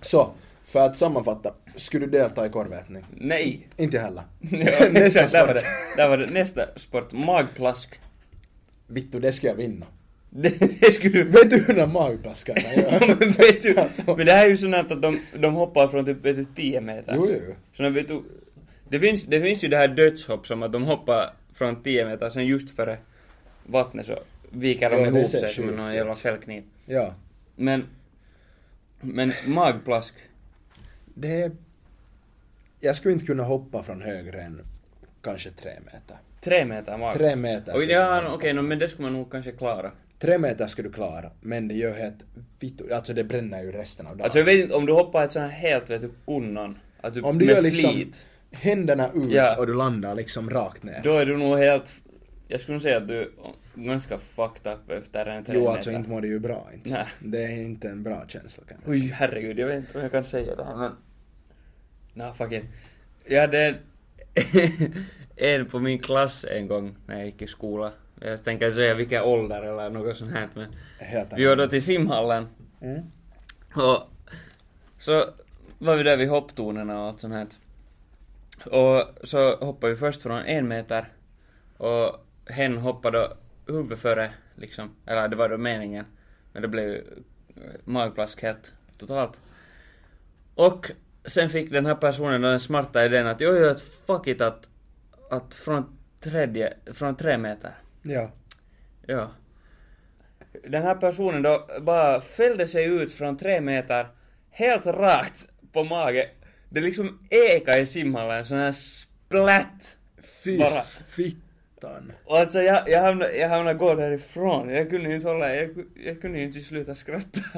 A: Så, för att sammanfatta. Skulle du delta i korvätning?
C: Nej.
A: Inte jag heller.
C: Ja,
A: Nästa
C: exakt, där var
A: sport.
C: det. Där var det. Nästa sport, magplask.
A: Vittu, det skulle jag vinna.
C: Det, det skulle du...
A: Vet du hur den magplaskarna gör?
C: Men vet du,
A: Alltså.
C: men det här är ju sånt här att de, de hoppar från typ vet du, 10 meter.
A: Jo, jo, jo.
C: Så när vet du, det, finns, det finns ju det här dödshopp som att de hoppar från 10 meter, sen just före vattnet så viker de
A: Ja, det
C: ihop
A: ser
C: sig som
A: sjukt
C: en
A: ut.
C: jävla fällkniv.
A: Ja.
C: Men, men magplask.
A: Det är... Jag skulle inte kunna hoppa från högre än kanske tre meter.
C: Tre meter mag.
A: Tre meter
C: Oj,
A: skulle
C: ja,
A: jag-
C: no, okej, no, men det skulle man nog kanske klara.
A: Tre meter skulle du klara, men det gör helt vittu... Alltså det bränner ju resten av dagen.
C: Alltså jag vet inte, om du hoppar ett sånt här helt vet du kunnan, att du,
A: Om du
C: med
A: gör liksom
C: flit,
A: händerna ut
C: Ja.
A: och du landar liksom rakt ner.
C: då är du nog helt, jag skulle nog säga att du är ganska fucked up efter en tre
A: Jo,
C: meter.
A: alltså inte mår det ju bra inte.
C: Nej.
A: Det är inte en bra känsla kan jag.
C: Oj, herregud, jag vet inte om jag kan säga det här men... Nå, fuck it. Jag hade en, en på min klass en gång när jag gick i skola. Jag tänker säga vilka ålder eller något sånt här men...
A: Helt
C: Vi var då till simhallen. Och så var vi där vid hopptornen och allt sånt här. Och så hoppade vi först från en meter och hen hoppade då huvudet före, liksom. Eller det var då meningen. Men det blev ju magplask helt totalt. Och sen fick den här personen då den smarta idén att jag gör ett fuck it att, att från, tredje, från tre meter.
A: Ja.
C: Ja. Den här personen då bara fällde sig ut från tre meter helt rakt på mage. Det liksom eka i simhallen, sån här splatt.
A: Fy
C: Bara.
A: fittan.
C: Och alltså jag, jag hamnade, jag hamnade gå därifrån. Jag kunde ju inte hålla, jag, ku- jag kunde ju inte sluta skratta.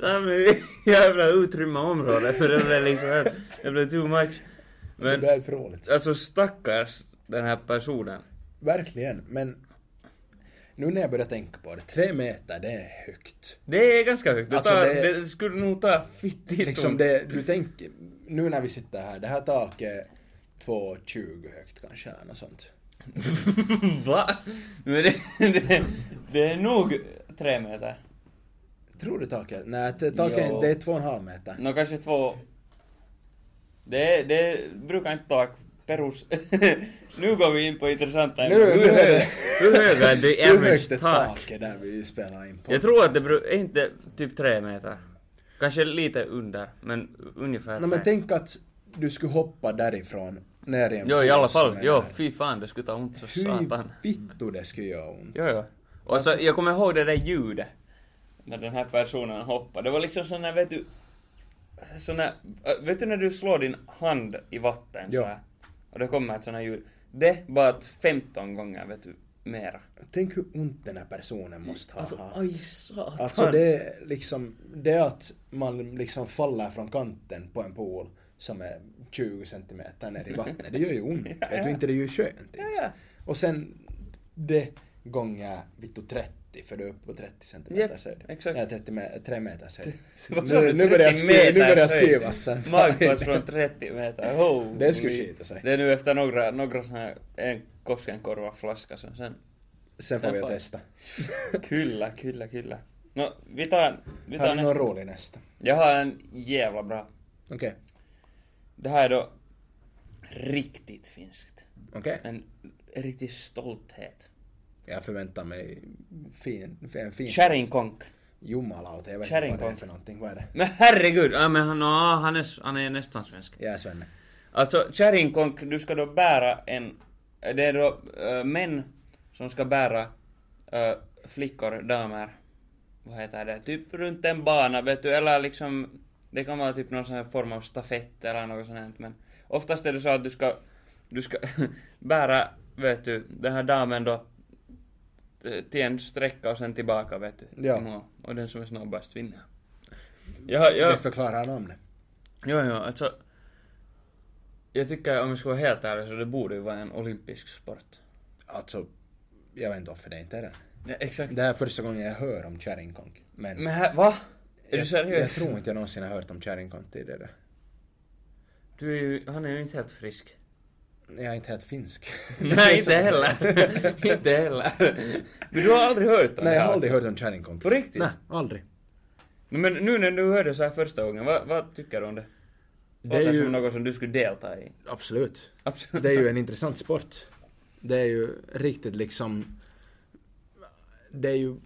C: Så hamnade vi i jävla utrymma område för det blev liksom, helt- det blev too much.
A: Det
C: Men
A: där är för roligt.
C: alltså stackars den här personen.
A: Verkligen, men nu när jag börjar tänka på det, tre meter det är högt.
C: Det är ganska högt. Det,
A: Alltså,
C: tar,
A: det-
C: det... skulle nog ta fittigt
A: Liksom
C: ont.
A: det, du tänker, nu när vi sitter här, det här taket är 2,20 högt kanske eller något sånt.
C: Va? Men det, det, det är nog tre meter.
A: Tror du taket? Nej, t- taket är-
C: Jo.
A: det är 2,5 meter.
C: Nå kanske två... Det, det brukar inte ta perus... nu går vi in på intressanta ämnen.
A: Nu- nu är det-
C: Hur hög är the
A: Hur högt är
C: average tak?
A: taket där vi spelar in på?
C: Jag tror att det bru- är inte typ tre meter. Kanske lite under, men ungefär
A: No,
C: tre.
A: men tänk att du skulle hoppa därifrån ner i en
C: Jo, i alla
A: pool som
C: fall.
A: är
C: Jo,
A: där.
C: fy fan, det skulle ta ont så satan.
A: Hur vittu det skulle göra ont.
C: Jo, jo. Och så, jag kommer ihåg det där ljudet. När den här personen hoppade. Det var liksom sån här, vet du... Sån här, äh, vet du när du slår din hand i vatten
A: Ja.
C: så här, Och det kommer ett sån här ljud. Det bara att 15 gånger, vet du, mera.
A: Tänk hur ont den här personen måste ha
C: Alltså,
A: haft.
C: aj satan.
A: Alltså det är liksom, det är att man liksom faller från kanten på en pool som är 20 centimeter ner i vattnet. Det gör ju ont. Vet du inte, det är ju skönt. inte.
C: ja.
A: Och sen det gånger vittu 30 för du är uppe på 30 centimeter
C: Japp,
A: höjd.
C: exakt.
A: Nej, 30 me- 3 meters höjd.
C: Vad sa
A: Nu,
C: du,
A: nu börjar jag
C: 30
A: skriva, nu börjar jag
C: meters höjd?
A: skriva sen.
C: Magplats från 30 meter. Oh,
A: Det skulle skita sig.
C: Det är nu efter några, några såna här, en Koskenkorva-flaska som sen
A: Sen får
C: Sen
A: vi
C: får-
A: testa.
C: Kyllä, kyllä, kyllä. No, vi tar, vi
A: Har
C: tar
A: du någon
C: nästa.
A: rolig nästa?
C: Jag har en jävla bra.
A: Okej.
C: Det här är då riktigt finskt.
A: Okej.
C: En riktig stolthet.
A: Jag förväntar mig fin, fin, fin.
C: Kärringkonk.
A: Jumalauta, jag vet inte vad det är
C: Kärringkonk.
A: för någonting. Vad är det?
C: Men herregud! Ja, men han, no, han, är, han är nästan svensk.
A: Jag är Svenne.
C: Alltså kärringkonk, du ska då bära en... Det är då äh, män som ska bära äh, flickor, damer. Vad heter det? Typ runt en bana, vet du, eller liksom... Det kan vara typ någon sån här form av stafett eller något sånt här, men... Oftast är det så att du ska... Du ska bära, vet du, den här damen då t- till en sträcka och sen tillbaka, vet du.
A: Ja.
C: till mål. Och den som är snabbast vinner. Jag, jag,
A: Det förklarar namnet.
C: Jo, jo, alltså. Jag tycker om jag ska vara helt ärlig så det borde ju vara en olympisk sport.
A: Alltså, jag vet inte varför det inte är det.
C: Ja, exakt.
A: Det här är första gången jag hör om kärringkonk. Men,
C: Men här, va? Är du
A: jag, jag
C: seriös?
A: tror inte jag någonsin har hört om kärringkonk tidigare.
C: Du är ju, han är ju inte helt frisk.
A: Jag är inte helt finsk.
C: Nej, inte heller. inte heller. Men du har aldrig hört
A: Nej,
C: om det
A: jag
C: här,
A: har aldrig
C: alltså?
A: hört om kärringkonk.
C: På riktigt?
A: Nej, aldrig.
C: No, men nu när du hörde så här första gången, vad, vad tycker du om det?
A: Det
C: Låter
A: är
C: som
A: ju...
C: något som du skulle delta i.
A: Absolut.
C: Absolut.
A: Det är ju en intressant sport. Det är ju riktigt liksom... Det är ju...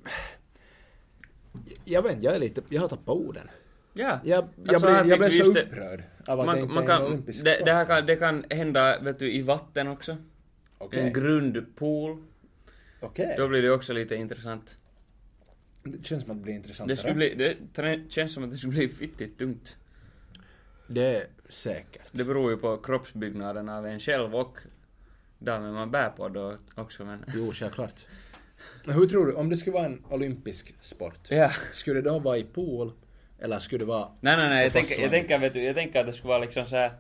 A: Jag vet inte, jag är lite... Jag har tappat orden.
C: Ja.
A: Jag, jag,
C: Alltså, här
A: blir, jag blir
C: fick du
A: så
C: just det-
A: upprörd av att det
C: Man,
A: inte
C: man
A: är en
C: kan,
A: olympisk
C: det,
A: sport.
C: det här kan, det kan hända, vet du, i vatten också.
A: Okej.
C: En grundpool.
A: Okej.
C: Då blir det också lite intressant.
A: Det känns som att det blir intressantare.
C: Det, skulle bli, det trä- känns som att det skulle bli fittigt tungt.
A: Det är säkert.
C: Det beror ju på kroppsbyggnaden av en själv och damen man bär på då också men...
A: Jo, självklart. Men hur tror du, om det skulle vara en olympisk sport,
C: Ja.
A: skulle det då vara i pool? Eller skulle det vara...
C: Nej, nej, nej. Jag
A: på
C: tänker, jag,
A: fastlandet?
C: tänker, vet du, jag tänker att det skulle vara liksom så här...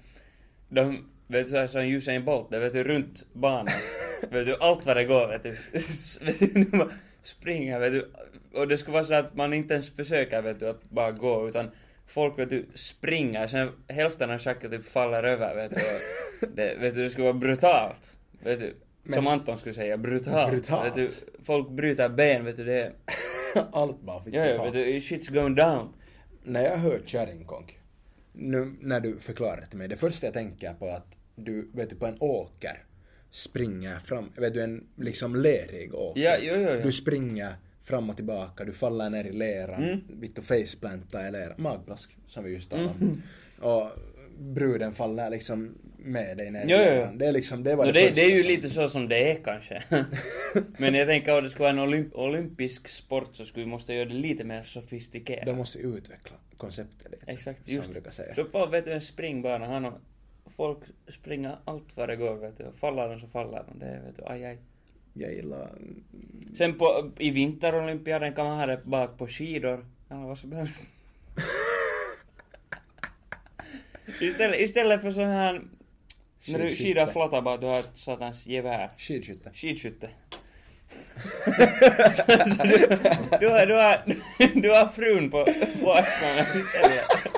C: De, vet du, så här som Usain Bolt, det vet du, runt banan. vet du, allt vad det går, vet du. vet du, när man springer, vet du. Och det skulle vara så att man inte ens försöker, vet du, att bara gå, utan folk, vet du, springer. Sen hälften av schacket typ faller över, vet du. Och Det, vet du, det skulle vara brutalt. Vet du. Som Anton skulle säga, brutalt.
A: Brutalt.
C: Vet du, folk bryter ben, vet du det. är-
A: Allt bara fick
C: Ja, ja, vet du, shit's going down.
A: När jag hör kärringkonk, nu när du förklarar till mig, det första jag tänker på är att du, vet du, på en åker springer fram, vet du, en liksom lerig åker.
C: Ja, jo, jo, jo.
A: Du springer fram och tillbaka, du faller ner i leran,
C: Mm.
A: vittu faceplantar i leran, magplask som vi just talade
C: Mm.
A: om. Och bruden faller liksom med dig ner i
C: Jo, jo, jo.
A: leran. Det är liksom, det var
C: No,
A: det,
C: det,
A: första
C: det är ju
A: som-
C: lite så som det är kanske. Men jag tänker om det skulle vara en olymp- olympisk sport så skulle vi måste göra det lite mer sofistikerat.
A: De måste utveckla konceptet lite.
C: Exakt,
A: som
C: just.
A: jag brukar säga.
C: Så på vet du, en springbana, han och folk springer allt vad det går vet du. Och Faller de så faller de. Det är, vet du, aj, aj.
A: Jag gillar... Mm.
C: Sen på, i vinterolympiaden kan man ha det bara på skidor. Eller vad som helst. istället, istället för så här... När du
A: Skidskytte.
C: skidar flatta bara, du har ett satans gevär.
A: Skidskytte.
C: Skidskytte. Så- så du, du, har, du, har, du har frun på, på axlarna istället.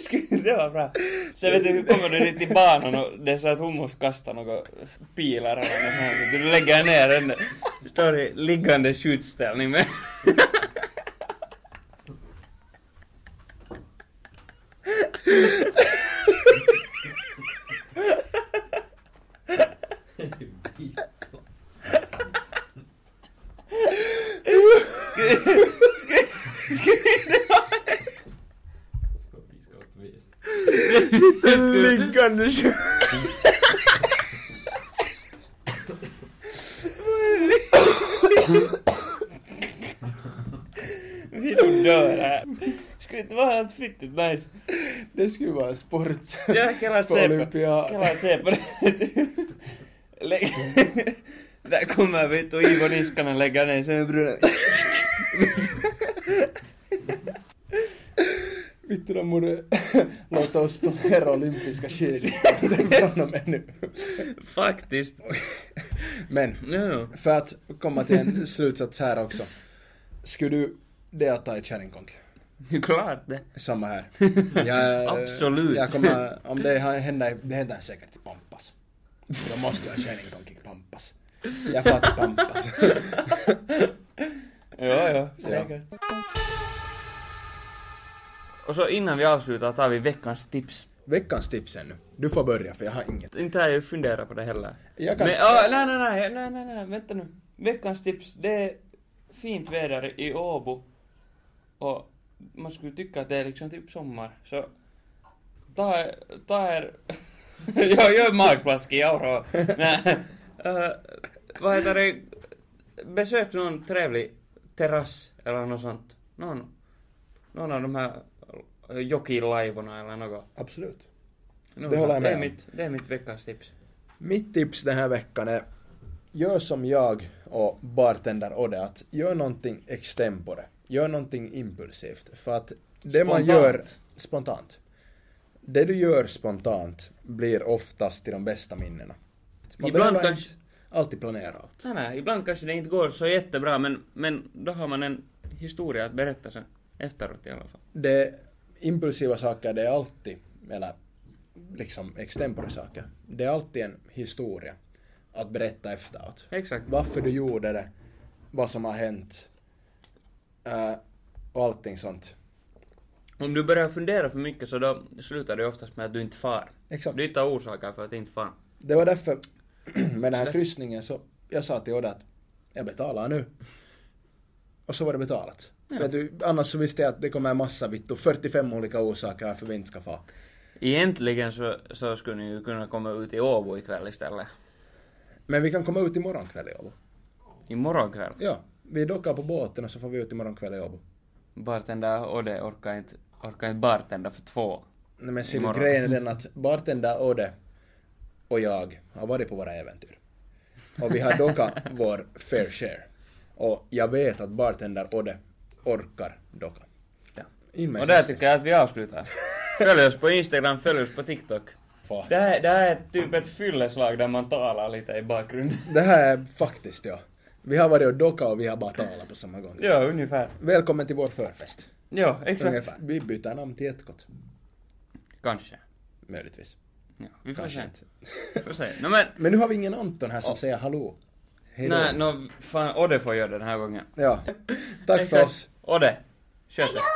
C: Skulle inte det vara bra? Sen vet du, hur kommer du dit till banan och det är så att hummus kastar några pilar eller något sånt. Du lägger ner den. Står i liggande skjutställning med
D: Ska vi ska åt vis.
A: Liggande skidskytte.
C: Vi nog dör här. Skulle inte vara helt fittigt nice.
A: Det skulle vara en sport.
C: Jag kan att
A: På
C: se på.
A: Olympia.
C: Kan att se på det. Lägg... Där kommer vi och Ivo Niskanen lägga ner sen bruden.
A: Vittu, de borde låta oss planera olympiska skidsporten från och med nu.
C: Faktiskt.
A: Men,
C: Ja.
A: för att komma till en slutsats här också. Skulle du delta i kärringkonk?
C: Det är klart det.
A: Samma här. Jag, eh,
C: Absolut.
A: Jag kommer, om det här händer, det händer säkert i Pampas. Då måste jag kärringkonk i Pampas. Jag fattar Pampas.
C: Ja, ja. Säkert. Och så innan vi avslutar tar vi veckans tips.
A: Veckans tips ännu. Du får börja för jag har inget.
C: Inte har jag funderat på det heller.
A: Jag kan...
C: Men, ah, nej, nej, nej, nej, nej, nej, vänta nu. Veckans tips, det är fint väder i Åbo. Och man skulle tycka att det är liksom typ sommar. Så ta, er- ta er... jag gör magplask i Auro. nej. eh, vad heter det? Besök någon trevlig terrass eller något sånt. Någon, någon av de här eh, jokilaivorna eller något.
A: Absolut.
C: Något
A: Det håller jag
C: sånt. det, är
A: med om.
C: mitt, det är mitt veckans tips.
A: Mitt tips den här veckan är gör som jag och bartender Odde att gör någonting extempore. Gör någonting impulsivt. För att det man
C: Spontant.
A: gör spontant. Det du gör spontant blir oftast till de bästa minnena. Man
C: Ibland
A: behöver
C: kanske-
A: inte alltid planera allt.
C: Nej, nej, ibland kanske det inte går så jättebra men, men då har man en historia att berätta sen efteråt i alla fall.
A: Det impulsiva saker, det är alltid, eller liksom extempore saker, det är alltid en historia att berätta efteråt.
C: Exakt.
A: varför du gjorde det, vad som har hänt eh, och allting sånt.
C: Om du börjar fundera för mycket så då slutar det oftast med att du inte far.
A: Exakt.
C: Du hittar orsaker för att inte fara.
A: Det var därför med den här
C: Så-
A: kryssningen så jag sa till Oda att jag betalar nu. Och så var det betalat. Vet du, annars så visste jag att det kommer en massa vittu, 45 olika orsaker varför vi inte ska få.
C: Egentligen så, så skulle ni ju kunna komma ut i Åbo ikväll istället.
A: Men vi kan komma ut imorgon kväll i Åbo.
C: Imorgon kväll.
A: Ja, vi dockar på båten och så får vi ut imorgon kväll i Åbo.
C: Bartender Odde orkar inte, orkar inte bartenda för två.
A: Nej men ser du,
C: Imorgon.
A: grejen är den att bartender Ode och jag har varit på våra äventyr. Och vi har dockat vår fair share. Och jag vet att bartender Ode orkar docka.
C: Ja.
A: In med
C: Och där
A: sig.
C: tycker jag att vi avslutar. Följ oss på Instagram, följ oss på TikTok.
A: Fan.
C: Det här, det här är typ ett fylleslag där man talar lite i bakgrunden.
A: Det här är faktiskt ja. Vi har varit och dockat och vi har bara talat på samma gång.
C: ja, ungefär.
A: Välkommen till vår förfest.
C: Ja, exakt.
A: Ungefär. Vi byter namn till Etkot.
C: Kanske.
A: Möjligtvis.
C: Ja, vi får
A: Kanske
C: se. Vi får se. No, men...
A: Men nu har vi ingen Anton här som
C: Ja.
A: säger hallå. Hej då.
C: Nej, no, fan, Odde får göra det den här gången.
A: Ja. Tack för
C: Exakt.
A: oss.
C: Odde, kör det.